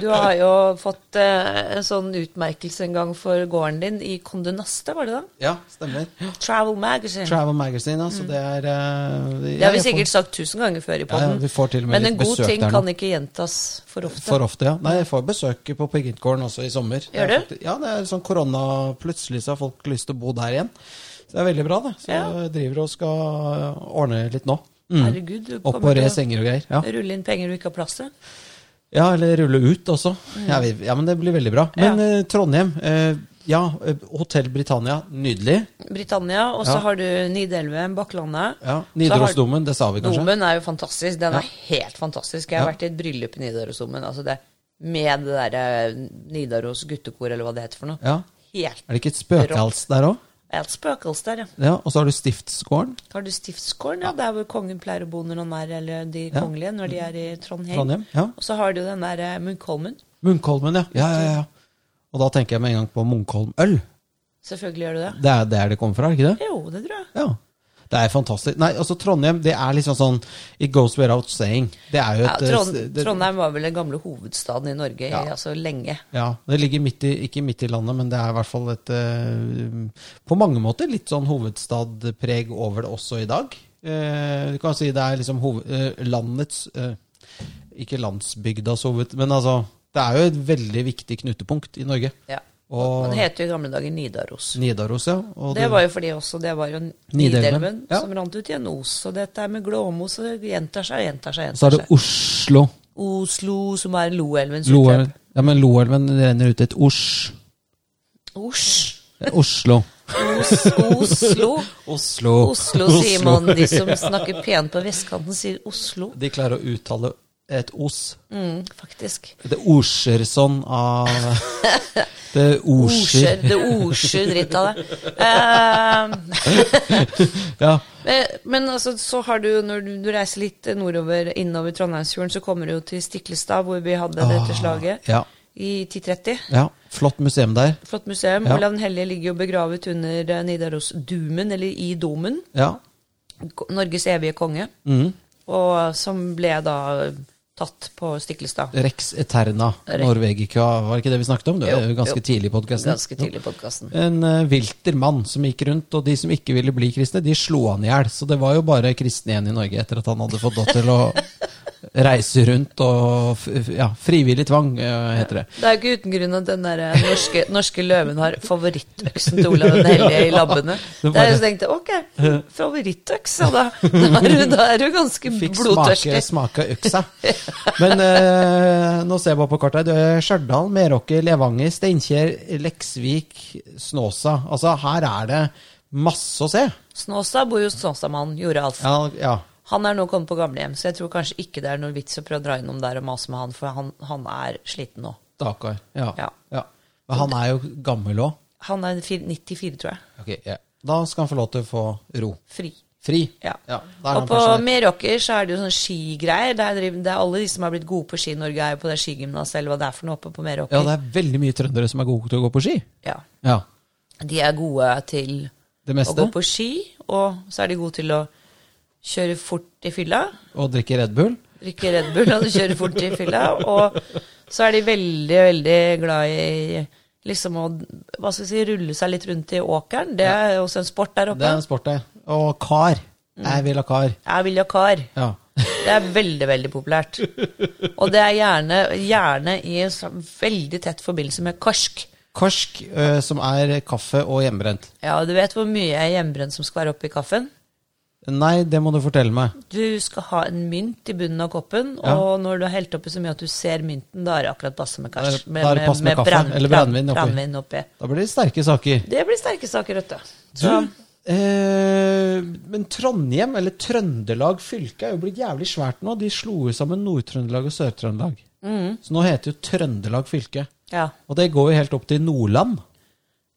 S2: Du har jo fått eh, en sånn utmerkelse en gang for gården din i Conde Nast, var det da?
S1: ja, stemmer.
S2: Travel Magazine.
S1: Travel Magazine, altså. Det er eh,
S2: Mm. det har
S1: jeg
S2: vi
S1: får-
S2: sikkert sagt tusen ganger før i
S1: Ja, ja,
S2: podden.
S1: vi får til og med
S2: men
S1: litt
S2: en god
S1: besøk
S2: ting
S1: der nå.
S2: kan ikke gjentas for ofte.
S1: For ofte, ja. Nei, jeg får besøk på Pingvingården også i sommer. Det er
S2: Gjør du?
S1: faktisk- Ja, det er sånn korona Plutselig så har folk lyst til å bo der igjen. Så det er veldig bra, det. Så
S2: Ja.
S1: jeg driver og skal ordne litt nå.
S2: Herregud, du
S1: mm. Opp og
S2: kommer
S1: re
S2: til
S1: senger og greier. Ja.
S2: å rulle inn penger du ikke har plass til.
S1: ja, eller rulle ut også. Ja, vi- ja, men det blir veldig bra. Men
S2: Mm. Ja.
S1: eh, Trondheim, eh, ja. Hotell Britannia, nydelig.
S2: Britannia, og så
S1: Ja.
S2: har du Nidelven, Bakklandet.
S1: Ja,
S2: Så har-
S1: Nidarosdomen, det sa vi kanskje?
S2: Domen er jo fantastisk. Den
S1: Ja.
S2: er helt fantastisk. Jeg har vært i et bryllup i Nidarosdomen. Altså det, med det derre Nidaros guttekor, eller hva det heter for noe.
S1: Ja.
S2: Helt
S1: Er det ikke et spøkelse der òg?
S2: Et spøkelse der, ja.
S1: Ja, og så har du Stiftsgården,
S2: Har du stiftsgården, ja, der hvor kongen pleier å bo når han er, eller de
S1: Ja.
S2: kongelige, når de er i Trondheim.
S1: Trondheim. Ja.
S2: Og så har du den der eh, Munkholmen.
S1: Munkholmen, ja. Ja, ja, ja. Og da tenker jeg med en gang på Munkholm øl.
S2: Selvfølgelig gjør du det.
S1: Det er der det kommer fra, er det ikke det?
S2: Jo, det tror jeg.
S1: Ja. Det er fantastisk. Nei, altså Trondheim, det er liksom sånn It goes without saying. Det er jo
S2: Ja,
S1: et
S2: Trond,
S1: eh, det,
S2: Trondheim var vel den gamle hovedstaden i Norge i altså lenge.
S1: Ja, det ligger midt i, ikke midt i landet, men det er i hvert fall et eh, På mange måter litt sånn hovedstadpreg over det også i dag. Eh, du kan si det er liksom hoved, eh, landets eh, Ikke landsbygdas hoved, men altså Det er jo et veldig viktig knutepunkt i Norge.
S2: Ja.
S1: Og
S2: Den heter jo i gamle dager Nidaros.
S1: Nidaros, ja. Og
S2: Det var jo fordi også det var jo Nidelven
S1: Nidelven, ja.
S2: som rant ut i en os. Og dette er med Glåmo så gjentar seg og gjentar seg.
S1: så er det
S2: gjentar seg.
S1: Oslo.
S2: Oslo, som er Loelvens
S1: Loelven.
S2: utløp.
S1: Ja, men Loelven renner ut et Osj.
S2: Osj.
S1: Det er Oslo.
S2: Os, Oslo.
S1: Oslo.
S2: Oslo sier man. De som snakker pent på vestkanten, sier Oslo.
S1: De klarer å uttale et os.
S2: Mm, faktisk.
S1: Det osjer sånn av Det
S2: Osjer.
S1: osjer.
S2: Det osjer dritt av det. Eh,
S1: Ja.
S2: Eh, Men altså, så har du, når du, du reiser litt nordover, innover Trondheimsfjorden, så kommer du jo til Stiklestad, hvor vi hadde dette slaget
S1: ja.
S2: i 1030.
S1: ja. Flott museum der.
S2: Flott museum.
S1: Ja.
S2: Olav den hellige ligger jo begravet under eh, Nidarosdomen, eller i domen.
S1: Ja.
S2: Ko- Norges evige konge. Og som ble da tatt på Stiklestad.
S1: Rex Eterna. Norvegica, var det ikke det vi snakket om? Det var
S2: Jo,
S1: jo ganske
S2: jo.
S1: tidlig i podkasten.
S2: Ganske tidlig i podkasten.
S1: En eh, vilter mann som gikk rundt, og de som ikke ville bli kristne, de slo han i hjel. Så det var jo bare kristne igjen i Norge etter at han hadde fått lov til å reise rundt og f- f- Ja, frivillig tvang, eh, heter det.
S2: Det er jo ikke uten grunn at den der eh, norske, norske løven har favorittøksen til Olav den hellige i labbene.
S1: det
S2: Der
S1: bare-
S2: jeg tenkte ok, favorittøks, ja da. Da er du, da er du ganske
S1: Fikk smake,
S2: blodtørstig.
S1: smake øksa. Men eh, nå ser jeg bare på kartet. her. Det er Stjørdal, Meråker, Levanger, Steinkjer, Leksvik, Snåsa. Altså, her er det masse å se.
S2: Snåstad bor jo Snåstadmannen, Joralf.
S1: Ja, ja.
S2: Han er nå kommet på gamlehjem, så jeg tror kanskje ikke det er noe vits å prøve å dra innom der og mase med han, for han, han er sliten nå.
S1: Dakar. Ja.
S2: Ja.
S1: ja. Men han er jo gammel òg.
S2: Han er fir- 94, tror jeg.
S1: Da skal han få lov til å få ro.
S2: Fri.
S1: Fri.
S2: Ja.
S1: Da er
S2: og
S1: han
S2: på
S1: pensjonert.
S2: Meråker så er det jo sånn skigreier. Der driver, det er alle de som har blitt gode på ski i Norge, er jo på det skigymnaset eller hva det er for noe oppe på Meråker.
S1: Ja, det er veldig mye trøndere som er gode til å gå på ski.
S2: Ja.
S1: Ja.
S2: De er gode til
S1: Det
S2: å gå
S1: meste.
S2: på ski, og så er de gode til å kjøre fort i fylla.
S1: Og drikke Red Bull.
S2: Drikke Red Bull og kjøre fort i fylla. Og så er de veldig, veldig glad i liksom å hva skal vi si, rulle seg litt rundt i åkeren. Det er også en sport der
S1: Det
S2: oppe.
S1: er en sport, det. Og kar.
S2: Mm.
S1: Jeg vil ha kar.
S2: Jeg vil ha kar.
S1: Ja.
S2: Det er veldig, veldig populært. Og det er gjerne, gjerne i en sam- veldig tett forbindelse med karsk.
S1: Korsk, eh, som er kaffe og hjemmebrent.
S2: Ja, du vet hvor mye hjemmebrent som skal være oppi kaffen?
S1: Nei, det må du fortelle meg.
S2: Du skal ha en mynt i bunnen av koppen, og når du har helt oppi så mye at du ser mynten, da er det akkurat passe med
S1: Da er
S2: kars.
S1: det- da er det passe med kaffe, eller brennevin oppi.
S2: brennevin oppi.
S1: Da blir det sterke saker.
S2: Det blir sterke saker, vet du.
S1: Du, eh, men Trondheim, eller Trøndelag fylke, er jo blitt jævlig svært nå. De slo jo sammen Nord-Trøndelag og Sør-Trøndelag.
S2: Mm.
S1: Så nå heter jo Trøndelag fylke.
S2: Ja,
S1: Og det går jo helt opp til Nordland.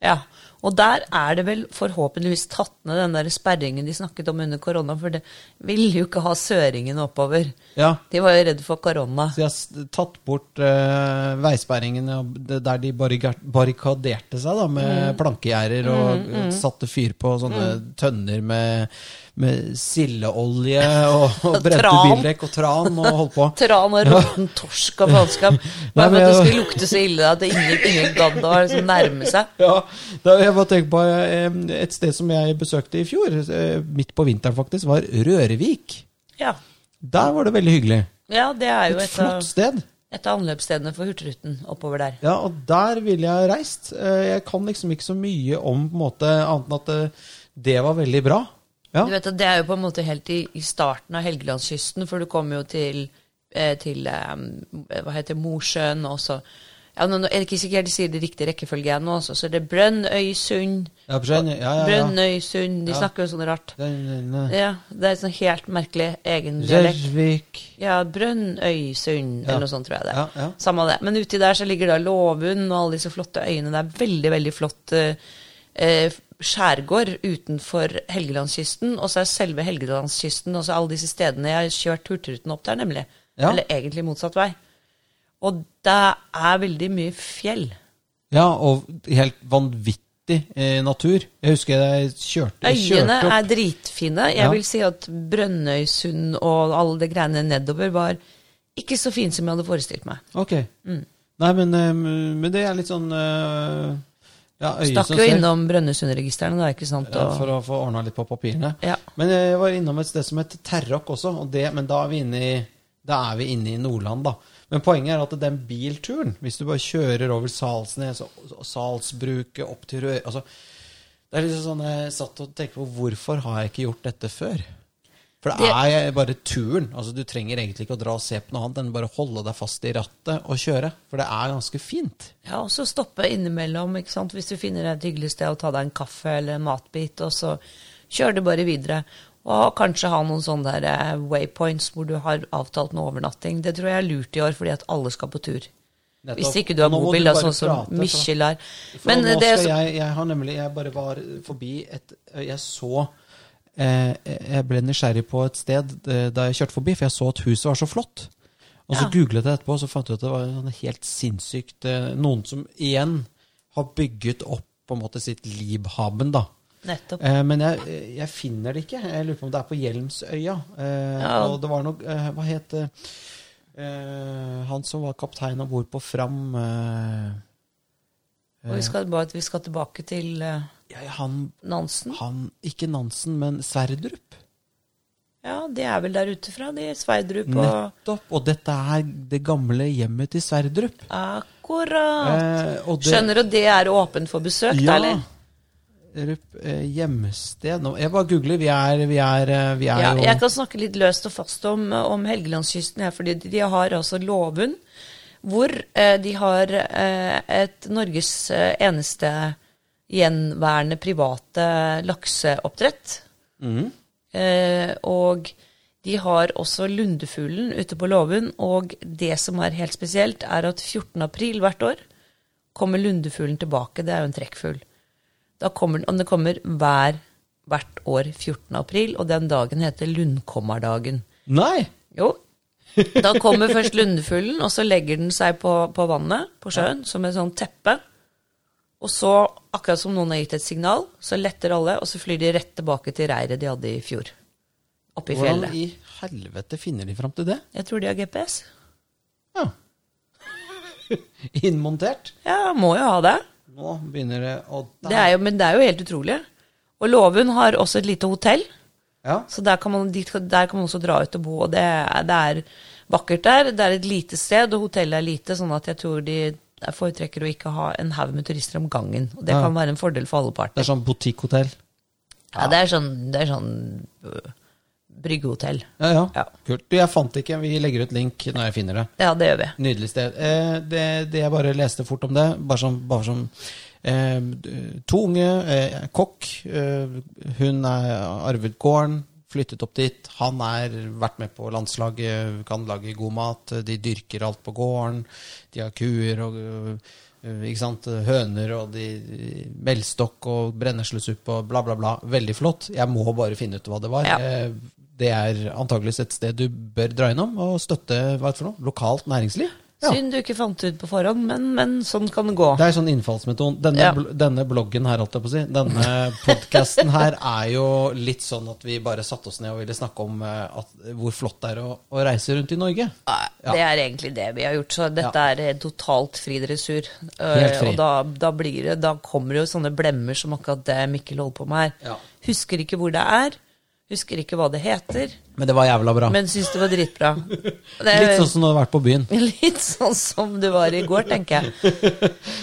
S2: ja. Og der er det vel forhåpentligvis tatt ned den der sperringen de snakket om under korona, for det ville jo ikke ha søringen oppover.
S1: Ja.
S2: De var jo redde for korona.
S1: Så de har s- tatt bort eh, veisperringene og det- der de barrika- barrikaderte seg da,
S2: Mm.
S1: med plankegjerder og satte fyr på sånne tønner med, med sildeolje og, og
S2: Og
S1: brente
S2: tran.
S1: bildekk og tran og holdt på.
S2: Tran og råtten torsk og faenskap.
S1: Nei, men
S2: Bare for at det
S1: jeg-
S2: skulle lukte så ille at det ingen, ingen gadd å liksom nærme seg.
S1: Ja, da, jeg bare tenker på eh, Et sted som jeg besøkte i fjor, eh, midt på vinteren faktisk, var Rørevik.
S2: Ja.
S1: Der var det veldig hyggelig.
S2: ja, det er jo
S1: Et
S2: et av
S1: flott sted.
S2: Et av anløpsstedene for Hurtigruten oppover der.
S1: Ja, og der ville jeg reist. Eh, Jeg kan liksom ikke så mye om på en måte, annet enn at eh, det var veldig bra. Ja,
S2: Du vet at Det er jo på en måte helt i, i starten av Helgelandskysten, for du kommer jo til, eh, til eh, hva heter det, Mosjøen og så ja, nå, nå er det ikke sikkert de sier det riktig rekkefølge ennå, også, så det er Brønnøysund.
S1: ja, Brønn, ja, ja, ja.
S2: Brønnøysund, de snakker jo sånn rart.
S1: Den- den-
S2: Ja, Det er sånn helt merkelig egen dialekt.
S1: Rørvik
S2: Ja, Brønnøysund, eller
S1: Ja.
S2: noe sånt, tror jeg det.
S1: Ja, ja.
S2: er. Samme det. Men uti der så ligger da Låvund og alle disse flotte øyene. Det er veldig, veldig flott eh, eh, skjærgård utenfor Helgelandskysten. Og så er selve Helgelandskysten og så alle disse stedene jeg har kjørt Hurtigruten opp der, nemlig.
S1: Ja.
S2: Eller egentlig motsatt vei. Og det er veldig mye fjell.
S1: Ja, og helt vanvittig eh, natur. Jeg husker jeg kjørte, jeg
S2: Øyene
S1: kjørte opp
S2: er dritfine. Jeg
S1: Ja.
S2: vil si at Brønnøysund og alle de greiene nedover var ikke så fine som jeg hadde forestilt meg.
S1: Ok.
S2: Mm.
S1: Nei, men, eh, men det er litt sånn eh, ja, øye
S2: Stakk
S1: som
S2: jo
S1: ser.
S2: innom Brønnøysundregistrene, da, ikke sant?
S1: Ja,
S2: Og,
S1: for å få ordna litt på papirene. eh,
S2: Ja.
S1: Men jeg var innom et sted som het Terrok også, og det, men da er vi inne i Da er vi inne i Nordland, da. Men poenget er at den bilturen, hvis du bare kjører over Salsnes og og Salsbruket opp til Røy altså, Det er liksom sånn jeg satt og tenkte på hvorfor har jeg ikke gjort dette før? For det, er bare turen. Altså, du trenger egentlig ikke å dra og se på noe annet enn bare holde deg fast i rattet og kjøre. For det er ganske fint.
S2: Ja, og så stoppe innimellom, ikke sant? hvis du finner et hyggelig sted å ta deg en kaffe eller en matbit, og så kjører du bare videre. Og kanskje ha noen sånne der eh, waypoints hvor du har avtalt noe overnatting. Det tror jeg er lurt i år, fordi at alle skal på tur. Hvis ikke du har
S1: Nå må
S2: mobil, da,
S1: bare
S2: sånn som
S1: prate, for-
S2: Mikkjel har.
S1: For
S2: Men eh,
S1: nå
S2: det
S1: skal
S2: som
S1: jeg, jeg har nemlig Jeg bare var forbi et Jeg så eh, Jeg ble nysgjerrig på et sted eh, da jeg kjørte forbi, for jeg så at huset var så flott. Og så
S2: Ja.
S1: googlet jeg etterpå, og så fant jeg ut at det var sånn helt sinnssykt eh, Noen som igjen har bygget opp på en måte sitt Liebhaben, da.
S2: Nettopp.
S1: Eh, men jeg, jeg finner det ikke. Jeg lurer på om det er på Hjelmsøya. Eh,
S2: Ja.
S1: Og det var noe eh, Hva het eh, eh, han som var kaptein om bord på Fram? Eh,
S2: Og vi skal, bare, vi skal tilbake til eh,
S1: ja, han,
S2: Nansen.
S1: han Ikke Nansen, men Sverdrup.
S2: Ja, de er vel der ute fra, de. Sveidrup og
S1: Nettopp. Og dette er det gamle hjemmet til Sverdrup.
S2: Akkurat.
S1: Eh, og det-
S2: Ah. Skjønner du, det er åpent for besøk, da, eller?
S1: Rup, eh, hjemsted Nå, Jeg bare googler. Vi er, vi er, eh, vi er
S2: Ja,
S1: jo
S2: jeg kan snakke litt løst og fast om, om Helgelandskysten her, fordi de har altså Låvund, hvor eh, de har eh, et Norges eh, eneste gjenværende private lakseoppdrett. Eh, og de har også lundefuglen ute på låven, og det som er helt spesielt, er at 14. april hvert år kommer lundefuglen tilbake. Det er jo en trekkfugl. Da kommer den, og den kommer hver, hvert år 14. april, og den dagen heter lundkommerdagen.
S1: Nei!
S2: Jo. Da kommer først lundefuglen, og så legger den seg på, på vannet, på sjøen, som et sånt teppe. Og så, akkurat som noen har gitt et signal, så letter alle, og så flyr de rett tilbake til reiret de hadde i fjor. Oppe i
S1: Hvordan
S2: fjellet.
S1: i helvete finner de fram til det?
S2: Jeg tror de har GPS.
S1: Ja. Innmontert.
S2: Ja, må jo ha det.
S1: Nå begynner det å
S2: det er jo, men det er jo helt utrolig. Og Låvund har også et lite hotell.
S1: Ja.
S2: Så der kan man, dit, der kan man også dra ut og bo, og det, er- det er vakkert der. Det er et lite sted, og hotellet er lite, sånn at jeg tror de foretrekker å ikke ha en haug med turister om gangen. Og det
S1: Ja.
S2: kan være en fordel for alle
S1: Det
S2: parter.
S1: er sånn butikkhotell.
S2: Ja, det er sånn, det er sånn øh, bryggehotell.
S1: Ja, ja,
S2: Ja.
S1: Kult. Du, jeg fant det ikke. Vi legger ut link når jeg finner det.
S2: Ja, det gjør vi.
S1: Nydelig sted. Eh, det, det jeg bare leste fort om det, bare som, bare som eh, d- To unge, eh, kokk. Eh, hun er arvet gården, flyttet opp dit. Han har vært med på landslaget, kan lage god mat. De dyrker alt på gården. De har kuer og eh, ikke sant? høner og de, melstokk og brenneslesuppe og bla, bla, bla. Veldig flott. Jeg må bare finne ut hva det var.
S2: Ja.
S1: Eh, Det er antakeligvis et sted du bør dra innom og støtte hva er det for noe? lokalt næringsliv. Ja.
S2: Synd du ikke fant ut på forhånd, men, men sånn kan det gå.
S1: Det er sånn innfallsmetoden. Denne,
S2: Ja.
S1: bl- denne bloggen her, holdt jeg på å si, denne podkasten her er jo litt sånn at vi bare satte oss ned og ville snakke om eh, at, hvor flott det er å, å reise rundt i Norge.
S2: Nei, Det er egentlig det vi har gjort, så dette
S1: Ja.
S2: er eh, totalt fri dressur.
S1: Helt
S2: Eh,
S1: fri.
S2: Og da, da, blir det, da kommer det jo sånne blemmer som akkurat det Mikkel holder på med her.
S1: Ja.
S2: Husker ikke hvor det er, husker ikke hva det heter,
S1: Men det var jævla bra.
S2: men eh, syns det var dritbra. Det er
S1: litt sånn som du hadde vært på byen.
S2: litt sånn som du var i går, tenker jeg.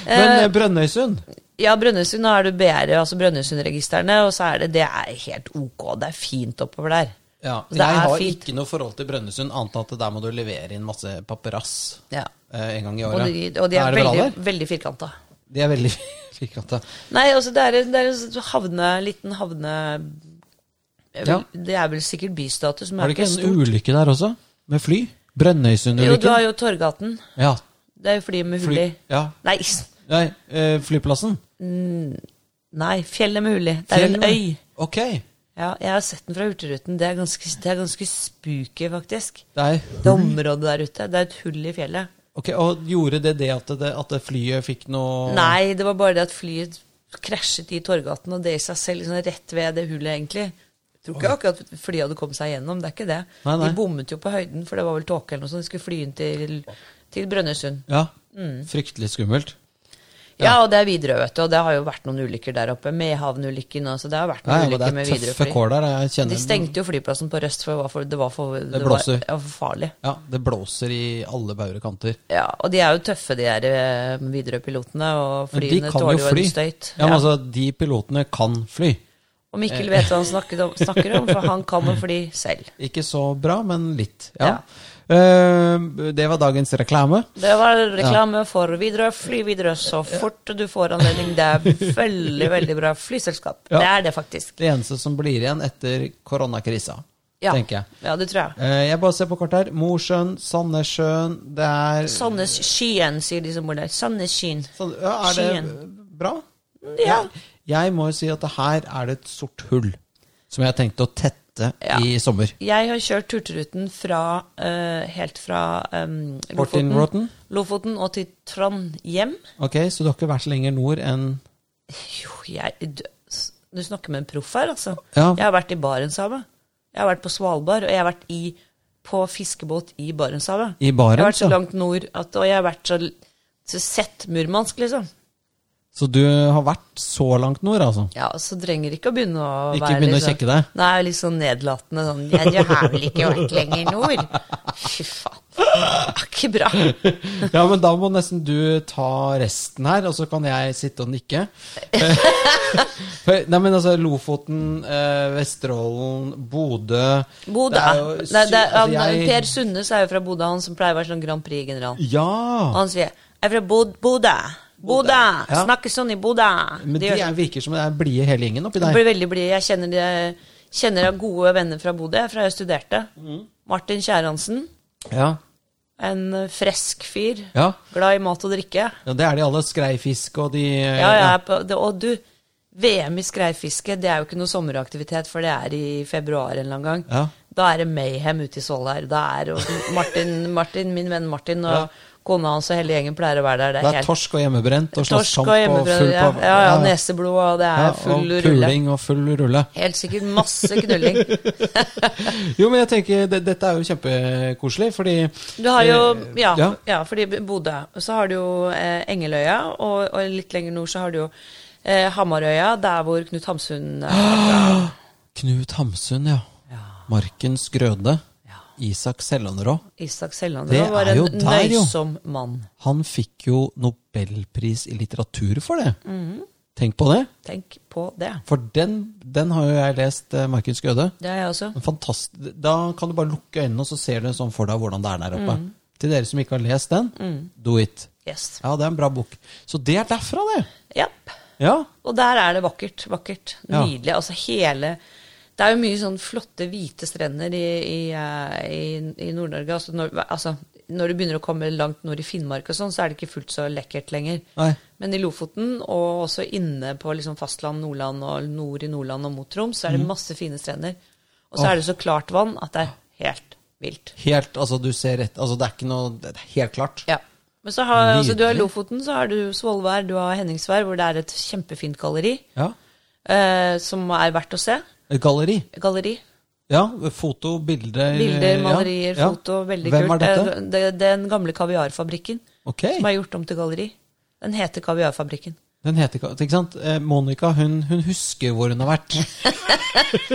S1: Men eh, Brønnøysund
S2: Ja, Brønnøysund, nå er du BR, altså Brønnøysundregistrene, og så er det Det er helt ok, det er fint oppover der.
S1: ja,
S2: Og det
S1: Jeg
S2: er
S1: har
S2: fint.
S1: ikke noe forhold til Brønnøysund, annet enn at der må du levere inn masse papirass
S2: Ja.
S1: eh, en gang i
S2: Og
S1: året.
S2: de, og de er,
S1: det bra
S2: veldig,
S1: der?
S2: veldig firkanta.
S1: De er veldig firkanta.
S2: Nei, altså det er, det er en sånn havne, liten havne jeg
S1: Ja.
S2: vil- Det er vel sikkert bystatus, men
S1: Var
S2: det er
S1: det ikke
S2: ikke
S1: en
S2: stort.
S1: ulykke der også? Med fly?
S2: Jo, du har
S1: Brønnøysundulykken?
S2: jo Torgaten.
S1: Ja.
S2: Det er jo flyet med hull
S1: Fly,
S2: i.
S1: ja.
S2: Nei, s-
S1: Nei, eh, flyplassen?
S2: nei, fjellet med hull i. Det er en
S1: Fjellet?
S2: øy.
S1: Ok.
S2: Ja, jeg har sett den fra Hurtigruten. Det er ganske, det er ganske spooky, faktisk.
S1: Det er
S2: Det området der ute. Det er et hull i fjellet.
S1: Ok, Og gjorde det det at, det at det flyet fikk noe
S2: Nei, det var bare det at flyet krasjet i Torgaten, og det i seg selv liksom, rett ved det hullet, egentlig. Jeg tror ikke akkurat flyet hadde kommet seg gjennom, det er ikke det.
S1: Nei, nei.
S2: De bommet jo på høyden, for det var vel tåke eller noe sånt. De skulle fly inn til, til Brønnøysund.
S1: Ja, Fryktelig skummelt.
S2: Ja, og det er Widerøe, vet du. Og det har jo vært noen ulykker der oppe. Mehamn-ulykken og så Det har vært
S1: Nei, men
S2: noen
S1: det
S2: ulykker med
S1: er tøffe
S2: Widerøe-fly.
S1: kår der. Jeg
S2: De
S1: kjenner
S2: stengte jo flyplassen på Røst, for det var for, det var for, det var,
S1: blåser.
S2: ja, for farlig.
S1: Ja, det blåser i alle bauger og kanter.
S2: Ja, og de er jo tøffe, de her eh, Widerøe-pilotene. Og
S1: Men de
S2: flyene
S1: kan jo
S2: tåler jo
S1: fly.
S2: en støyt.
S1: Ja, men
S2: Ja.
S1: altså, de pilotene kan fly.
S2: Og Mikkel vet hva han snakker om, snakker om, for han kan å fly selv.
S1: Ikke så bra, men litt. Ja. Eh, det var dagens reklame.
S2: Det var reklame for Widerøe. Fly Widerøe så fort du får anledning. Det er veldig, veldig bra flyselskap.
S1: Ja.
S2: Det er det, faktisk.
S1: Det eneste som blir igjen etter koronakrisa,
S2: Ja,
S1: tenker jeg.
S2: ja det tror jeg.
S1: Eh, jeg bare ser på kortet her. Mosjøen, Sandnessjøen, det er
S2: Sandnes Skien, sier de som bor der. Sandnes Skien.
S1: Sand- ja, Er det bra?
S2: Ja.
S1: Jeg må jo si at det her er det et sort hull som jeg har tenkt å tette
S2: Ja.
S1: i sommer.
S2: Jeg har kjørt Turtruten fra, eh, helt fra eh,
S1: Fort in
S2: Lofoten,
S1: Rotten?
S2: Lofoten og til Trondhjem.
S1: Ok, Så du har ikke vært lenger nord enn
S2: Jo, jeg du, du snakker med en proff her, altså.
S1: Ja.
S2: Jeg har vært i Barentshavet. Jeg har vært på Svalbard, og jeg har vært i, på fiskebåt i Barentshavet.
S1: I Barents,
S2: Jeg
S1: ja.
S2: har vært så langt nord, at, og jeg har vært så, så sett Murmansk, liksom.
S1: Så du har vært så langt nord, altså?
S2: Ja, så trenger ikke å begynne å
S1: Ikke
S2: være
S1: begynne å
S2: litt sånn-
S1: kjekke deg?
S2: Nei, litt sånn nedlatende sånn Jeg, jeg har vel ikke vært lenger i nord. Fy faen. Det er ikke bra.
S1: Ja, men da må nesten du ta resten her, og så kan jeg sitte og nikke. For, nei, men altså, Lofoten, eh, Vesterålen, Bodø
S2: Bodø.
S1: Det er jo sy-
S2: Nei, det er,
S1: altså,
S2: han,
S1: jeg-
S2: Per Sundnes er jo fra Bodø, han som pleier å være sånn Grand Prix-general. Og
S1: Ja!
S2: han sier 'Jeg er fra Bod Bodø'. Bodø.
S1: Ja.
S2: Snakker sånn i Bodø.
S1: Men de
S2: gjør
S1: er, virker som det er blide hele gjengen oppi
S2: Jeg
S1: der.
S2: blir veldig blid. Jeg kjenner, de- kjenner av gode venner fra Bodø, jeg, fra jeg studerte.
S1: Mm.
S2: Martin Kjæransen.
S1: Ja.
S2: En fresk fyr.
S1: Ja.
S2: Glad i mat og drikke.
S1: ja, Det er de alle skreifisk og de eh,
S2: Ja, jeg er på, det, og du, VM i skreifiske, det er jo ikke noe sommeraktivitet, for det er i februar en eller annen gang.
S1: Ja.
S2: Da er det mayhem ute i Svolvær. Da er jo Martin, Martin, min venn Martin og
S1: Ja.
S2: kona hans og hele gjengen pleier å være der. Det
S1: Det
S2: er,
S1: er
S2: helt
S1: torsk og hjemmebrent og slåsskamp
S2: torsk
S1: og full
S2: og hjemmebrød. Ja,
S1: på-
S2: ja, ja, neseblod, og det er
S1: Ja,
S2: full
S1: og
S2: rulle.
S1: puling og full rulle.
S2: Helt sikkert masse knulling.
S1: Jo, men jeg tenker, det, dette er jo kjempekoselig, fordi
S2: Du har jo,
S1: eh,
S2: ja,
S1: ja.
S2: ja. fordi Bodø, så har du jo eh, Engeløya, og, og litt lenger nord så har du jo eh, Hamarøya, der hvor Knut Hamsun eh, er.
S1: Knut Hamsun, ja. Marken Skrøde. Isak Sellanrå.
S2: Isak Selland
S1: Det
S2: var
S1: er
S2: en
S1: jo der, jo.
S2: nøysom mann.
S1: Han fikk jo nobelpris i litteratur for det.
S2: Mhm.
S1: Tenk på det.
S2: Tenk på det.
S1: For den, den har jo jeg lest, eh, Marken Skrøde.
S2: Det har jeg også.
S1: En fantast- Da kan du bare lukke øynene, og så ser du sånn for deg hvordan det er der
S2: Mm.
S1: oppe. Til dere som ikke har lest den, do it.
S2: Yes.
S1: Ja, det er en bra bok. Så det er derfra, det.
S2: Japp.
S1: Ja.
S2: Og der er det vakkert. Vakkert.
S1: Ja.
S2: Nydelig. Altså hele Det er jo mye sånn flotte, hvite strender i, i, eh, i, i Nord-Norge. Altså, når- altså, når du begynner å komme langt nord i Finnmark og sånn, så er det ikke fullt så lekkert lenger.
S1: Nei.
S2: Men i Lofoten, og også inne på liksom fastland, Nordland og nord i Nordland og mot Troms, så er det
S1: Mhm.
S2: masse fine strender. Og så er det så klart vann at det er helt vilt.
S1: Helt, altså du ser rett, altså det er ikke noe, det er helt klart.
S2: Ja. Men så har, altså, du har
S1: Nydelig.
S2: Lofoten, så har du Svolvær, du har Henningsvær, hvor det er et kjempefint galleri
S1: Ja.
S2: eh, som er verdt å se.
S1: Et galleri.
S2: Galleri.
S1: Ja, foto, bilder.
S2: Bilder,
S1: Eh, ja,
S2: malerier,
S1: ja.
S2: foto. Veldig
S1: Hvem
S2: kult.
S1: Hvem er dette?
S2: Eh, Det, det er den gamle kaviarfabrikken
S1: Ok,
S2: som er gjort om til galleri. Den heter Kaviarfabrikken.
S1: den heter ikke Ikke sant? Eh, Monica, hun, hun husker hvor hun har vært.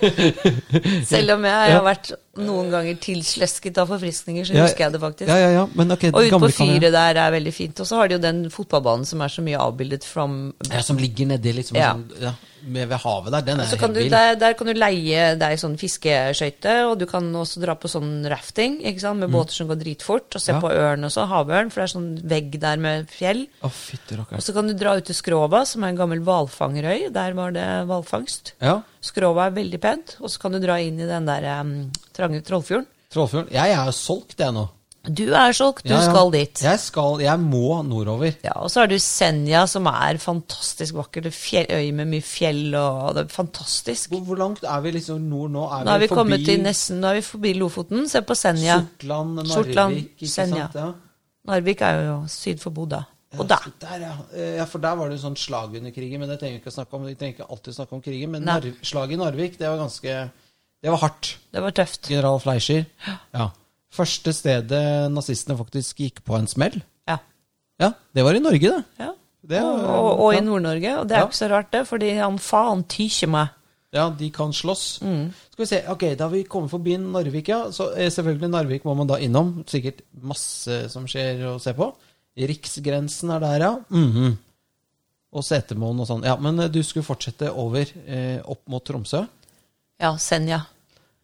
S2: Selv om jeg
S1: Ja.
S2: har vært noen ganger tilslesket av forfriskninger, så
S1: Ja,
S2: husker jeg det faktisk.
S1: Ja, ja, ja. Men ok,
S2: Og ute
S1: gamle
S2: på
S1: kan jeg-
S2: fyret der er veldig fint. Og så har de jo den fotballbanen som er så mye avbildet from
S1: Ja, som ligger nedi liksom
S2: Ja.
S1: sånn, ja, med, ved havet der. Den er
S2: så
S1: helt
S2: kan du,
S1: vill.
S2: der, der kan du leie deg sånn fiskeskøyte, og du kan også dra på sånn rafting ikke sant? med båter som går dritfort, og se
S1: Mm. Ja.
S2: på ørn og sånn, havørn, for det er sånn vegg der med fjell.
S1: Å, fytti rakkeren.
S2: Og så kan du dra ut til Skrova, som er en gammel hvalfangerøy. Der var det hvalfangst.
S1: Ja.
S2: Skrova er veldig pent, og så kan du dra inn i den der em, trange Trollfjorden.
S1: Trollfjorden. Jeg er jo solgt, jeg nå.
S2: Du er solgt, du
S1: Ja, ja.
S2: skal dit.
S1: Jeg skal, jeg må nordover.
S2: Ja, og så har du Senja, som er fantastisk vakker. Det er fjell, øy med mye fjell, og det er fantastisk.
S1: Hvor, hvor langt er vi liksom nord nå? Er
S2: Nå er vi
S1: forbi
S2: kommet til nesten, nå er vi forbi Lofoten. Se på Senja.
S1: Sortland, Narvik,
S2: Sortland,
S1: ikke
S2: Senja.
S1: sant? Ja.
S2: Narvik er jo syd for Bodø. Og da.
S1: Der, ja. Eh, ja, for der var det jo sånn slag under krigen, men det trenger vi ikke å snakke om. Vi trenger ikke alltid snakke om krigen, men
S2: Nei.
S1: Narv- slaget i Narvik, det var ganske Det var hardt.
S2: Det var tøft.
S1: General Fleischer. Ja. Første stedet nazistene faktisk gikk på en smell.
S2: Ja.
S1: Ja, det var i Norge, det.
S2: Ja.
S1: Det er-
S2: og, og i Nord-Norge. Og det er
S1: Ja.
S2: jo ikke så rart, det, fordi han faen tykker meg.
S1: Ja, de kan slåss. Mm. Skal vi se, ok, Da har vi kommet forbi Narvik, ja. Så eh, selvfølgelig Narvik må man da innom. Sikkert masse som skjer å se på. Riksgrensen er der, ja. Mhm. Og Setermoen og sånn. Ja, Men eh, du skulle fortsette over eh, opp mot Tromsø.
S2: Ja, Senja.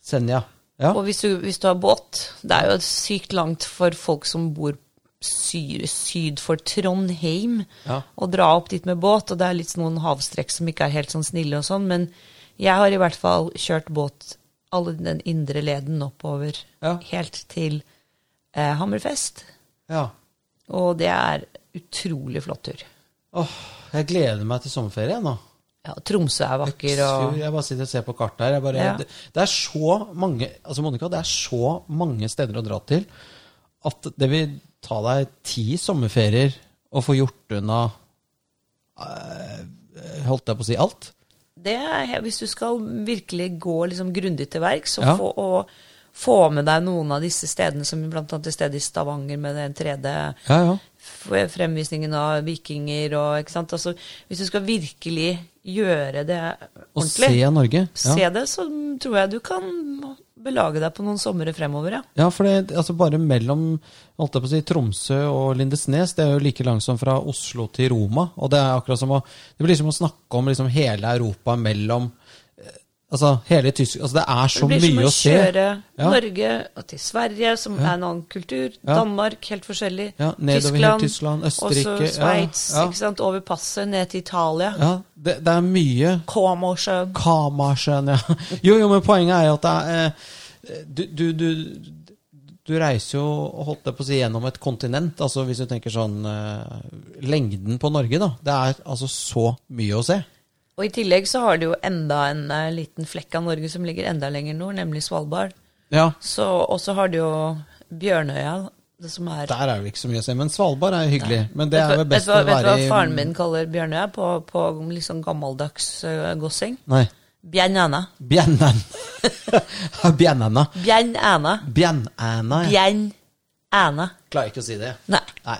S1: Senja. Ja.
S2: Og hvis du, hvis du har båt Det er jo sykt langt for folk som bor sy syd for Trondheim,
S1: Ja.
S2: å dra opp dit med båt. Og det er litt sånn noen havstrekk som ikke er helt sånn snille og sånn. Men jeg har i hvert fall kjørt båt alle den indre leden oppover
S1: Ja.
S2: helt til eh, Hammerfest.
S1: ja.
S2: Og det er utrolig flott tur.
S1: Åh, jeg gleder meg til sommerferie nå.
S2: Ja, Tromsø er vakker, og
S1: Jeg bare sitter og ser på kartet her. Jeg bare,
S2: Ja.
S1: det, det er så mange altså Monica, det er så mange steder å dra til at det vil ta deg ti sommerferier å få gjort unna eh, Holdt jeg på å si alt?
S2: det er, he- hvis du skal virkelig gå liksom grundig til verks og,
S1: Ja.
S2: få, og få med deg noen av disse stedene, som blant annet til stede i Stavanger med den 3D-fremvisningen
S1: Ja, ja.
S2: av vikinger og ikke sant? Altså, Hvis du skal virkelig gjøre det
S1: Og se
S2: ordentlig,
S1: Norge. Ja.
S2: se det, så tror jeg du kan belage deg på noen somre fremover, ja.
S1: Ja, for det, altså bare mellom holdt jeg på å si, Tromsø og Lindesnes, det er jo like langt som fra Oslo til Roma. Og det er akkurat som å, det blir som å snakke om liksom hele Europa mellom eh, Altså hele Tysk... Altså det er så
S2: det blir som
S1: mye
S2: å
S1: å se.
S2: kjøre
S1: Ja.
S2: Norge og til Sverige, som er en annen kultur.
S1: Ja.
S2: Danmark, helt forskjellig.
S1: Ja, nedover helt Tyskland, Østerrike, ja,
S2: Og så Sveits,
S1: ja.
S2: ikke sant. Over passet, ned til Italia.
S1: Ja, det, det er mye
S2: Komosjøen.
S1: Kamasjøen, ja. Jo, jo, men poenget er jo at det er eh, du, du, du, du reiser jo, holdt jeg på å si, gjennom et kontinent. Altså hvis du tenker sånn eh, Lengden på Norge, da. Det er altså så mye å se.
S2: Og i tillegg så har du jo enda en eh, liten flekk av Norge som ligger enda lenger nord, nemlig Svalbard.
S1: Ja.
S2: Så, og så har du jo Bjørnøya, det som er
S1: Der er det ikke så mye å se, men Svalbard er jo hyggelig. Men det
S2: Vet du-
S1: er vel best
S2: vet
S1: å
S2: du hva-
S1: være
S2: Vet
S1: i
S2: du hva faren min kaller Bjørnøya på, på litt sånn gammeldags eh, gossing?
S1: Nei.
S2: Bjørnæna.
S1: Bjennan. Bjennana.
S2: Bjørnæna.
S1: Bjennana. Jeg
S2: Bjørnæna.
S1: klarer ikke å si det.
S2: Nei.
S1: Nei.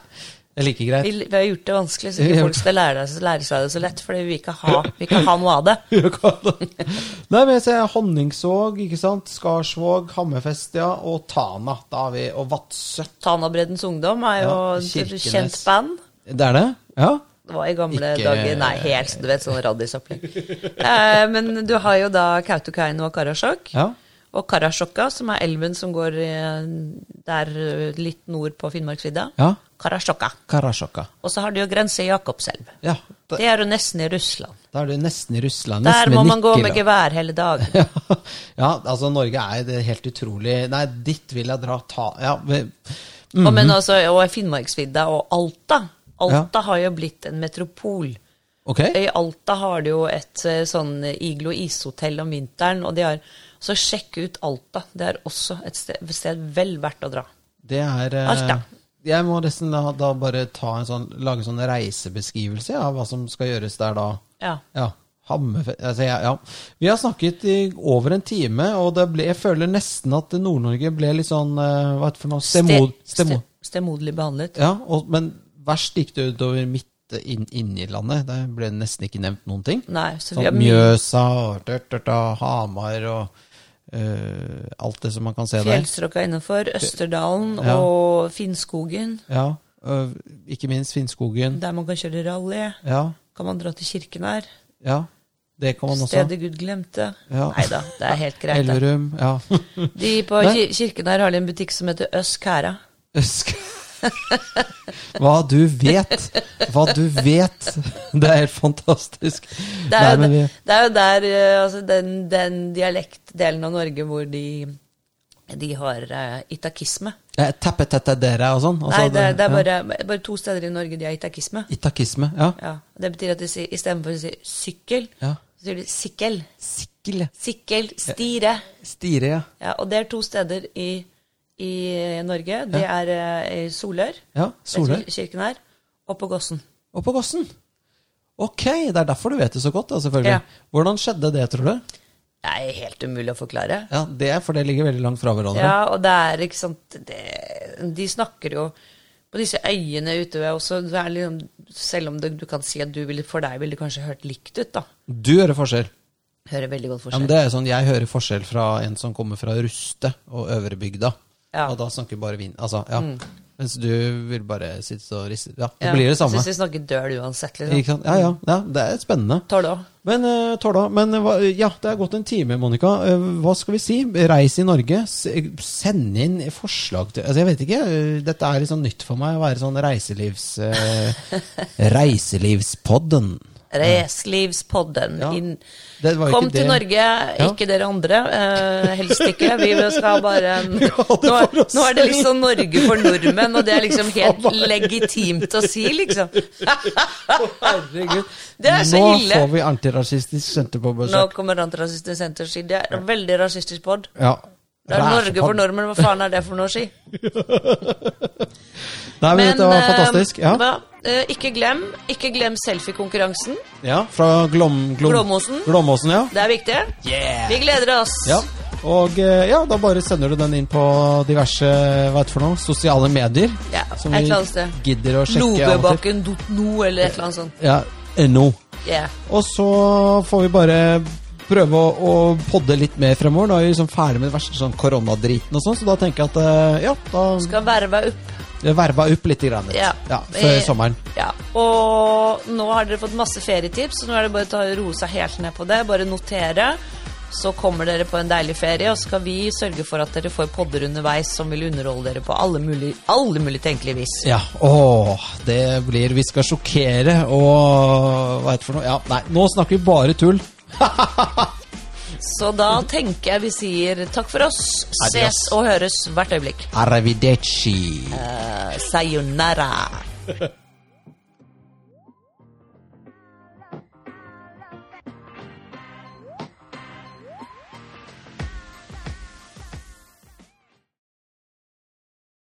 S1: Det er like greit.
S2: Vi, vi har gjort det vanskelig, så ikke folk skal lære, deg- lære seg det så lett. Fordi vi ikke har, vi ikke har noe av det.
S1: Nei, men jeg ser Honningsvåg, ikke sant? Skarsvåg, Hammerfest, ja. Og Tana. Da har vi, og Vadsø.
S2: Tanabreddens Ungdom er jo
S1: Ja,
S2: et
S1: Kirkenes.
S2: kjent band.
S1: Det er det? Ja.
S2: Det var i gamle
S1: Ikke-
S2: dager. Nei, helt du vet, sånn raddisopplegg. eh, men du har jo da Kautokeino og Karasjok.
S1: ja.
S2: Og Karasjokka, som er elven som går eh, der eh, litt nord på Finnmarksvidda.
S1: Ja.
S2: Karasjokka.
S1: Karasjokka.
S2: Og så har du jo grense i Jakobselv.
S1: Ja. Da,
S2: Det er jo nesten i Russland.
S1: da er du nesten i Russland.
S2: Der
S1: Nesten
S2: må
S1: i
S2: man gå med
S1: Nikel,
S2: gevær hele dagen.
S1: ja, Ja, altså Norge er det helt utrolig Nei, dit vil jeg dra ta Ja, vi- Mm-hmm.
S2: Og, men altså, og Finnmarksvidda og Alta. Alta har jo blitt en metropol.
S1: ok.
S2: I Alta har du jo et eh, sånn iglo ishotell om vinteren, og de har Så sjekk ut Alta. Det er også et sted, sted vel verdt å dra.
S1: Det er eh,
S2: Alta.
S1: Jeg må nesten da, da bare ta en sånn, lage en sånn reisebeskrivelse ja, av hva som skal gjøres der da.
S2: Ja.
S1: Ja. Hammerfe- altså, ja, ja. Vi har snakket i over en time, og det ble, jeg føler nesten at Nord-Norge ble litt sånn eh, Hva heter det for noe? Stemod,
S2: Ste-
S1: stemo,
S2: ste- stemoderlig behandlet.
S1: ja, og, men verst gikk det utover midt eh, inn, inn i landet. Der ble det nesten ikke nevnt noen ting.
S2: Nei, så vi
S1: Sånn
S2: har mye
S1: Mjøsa og dørt, dørt, og Hamar og eh, alt det som man kan se der.
S2: fjellstrøkka innenfor. Østerdalen
S1: Ja.
S2: og Finnskogen,
S1: Ja, og ikke minst Finnskogen.
S2: der man kan kjøre rally.
S1: Ja,
S2: Kan man dra til kirken her?
S1: ja. Det kan man Sånn også.
S2: Stedet Gud glemte.
S1: Ja.
S2: Nei da, det er helt greit. det.
S1: Elverum. Ja.
S2: De på
S1: Nei.
S2: ki- kirken her har de en butikk som heter Øskæra.
S1: Øsk. Hva du vet! Hva du vet! Det er helt fantastisk.
S2: Det er, jo
S1: Nei, men
S2: de-
S1: vi-
S2: det er jo der eh, altså, den, den dialektdelen av Norge hvor de, de har eh, itakisme.
S1: Eh, Tappetattadera og sånn. altså
S2: Nei, det, det er
S1: ja.
S2: bare, bare to steder i Norge de har itakisme.
S1: Itakisme. Ja.
S2: Ja, det betyr at de sier, istedenfor å si sykkel,
S1: Ja.
S2: så sier de sikkel.
S1: Sikkel.
S2: Sikkel, stire.
S1: Stire, ja.
S2: Ja, og det er to steder i, i Norge. Det er eh, i Solør,
S1: Ja, Solør.
S2: vet du, kirken her, og på Gossen.
S1: Og på Gossen. Ok, det er derfor du vet det så godt, da, selvfølgelig.
S2: Ja.
S1: Hvordan skjedde det, tror du?
S2: Det er helt umulig å forklare.
S1: Ja, det er For det ligger veldig langt fra hverandre.
S2: Ja, og det er ikke sant det, De snakker jo på disse øyene ute ved også, det er liksom, Selv om det, du kan si at du ville, for deg ville det kanskje hørt likt ut, da.
S1: Du hører forskjell.
S2: Hører veldig godt
S1: Ja,
S2: forskjell.
S1: men det er sånn, Jeg hører forskjell fra en som kommer fra Ruste og Øvrebygda.
S2: Ja. Mm.
S1: Og da snakker bare vin. Altså, ja. Mens du vil bare sitte og riste. Ja, det
S2: Ja,
S1: blir det samme.
S2: Syns vi snakker døl uansett, liksom.
S1: Ikke sant? Ja, ja, ja, det er spennende.
S2: Tar det òg.
S1: Men eh, Torda, men eh, hva, ja, det er gått en time, Monica. Eh, hva skal vi si? Reis i Norge. s- Send inn forslag til altså, Jeg vet ikke. eh, Dette er litt sånn nytt for meg å være sånn reiselivs... Eh, reiselivspodden.
S2: Reiselivspodden.
S1: Ja.
S2: Inn-
S1: Det var jo
S2: Kom
S1: ikke
S2: til
S1: det.
S2: Norge, ikke dere andre. eh, helst ikke. Vi skal bare
S1: det
S2: nå,
S1: får oss
S2: nå er det
S1: selv.
S2: liksom Norge for nordmenn, og det er liksom helt legitimt å si, liksom.
S1: Herregud.
S2: Det er så
S1: Nå
S2: ille.
S1: får vi antirasistisk senter på
S2: Nå
S1: besøk.
S2: kommer Antirasistisk Senter og sier det er en veldig rasistisk pod.
S1: Ja.
S2: Det er Norge for
S1: Ræsepod-
S2: nordmenn, hva faen er det for noe å si?
S1: Nei, men, dette var
S2: eh,
S1: fantastisk. Ja,
S2: hva? Eh, ikke glem ikke glem selfiekonkurransen.
S1: ja Fra Glom, Glom,
S2: Glåmåsen.
S1: Glåmåsen, ja.
S2: Det er viktig. Vi gleder oss.
S1: Ja. Og eh, ja, da bare sender du den inn på diverse hva er det for noe, sosiale medier.
S2: Ja,
S1: som
S2: et
S1: vi
S2: eller annet sted.
S1: gidder å sjekke. av og til.
S2: Lovebakken.no eller et eller annet sånt.
S1: Ja, NO.
S2: Yeah.
S1: Og så får vi bare prøve å, å podde litt mer fremover. Nå er vi liksom ferdig med det verste sånn koronadriten og sånn, så da tenker jeg at eh, ja, da
S2: Skal verve opp.
S1: verva opp litt. Grann,
S2: Ja.
S1: Ja, før
S2: Eh,
S1: sommeren.
S2: Ja. Og nå har dere fått masse ferietips, så nå er det bare å ta roe seg helt ned på det. Bare notere. Så kommer dere på en deilig ferie, og så skal vi sørge for at dere får podder underveis som vil underholde dere på alle mulige, alle mulige tenkelige vis.
S1: Ja, åh, det blir Vi skal sjokkere og hva er det for noe? Ja, nei, nå snakker vi bare tull.
S2: Så da tenker jeg vi sier takk for oss. Ses
S1: Adios.
S2: og høres hvert øyeblikk.
S1: Arrivederci.
S2: Eh, sayonara.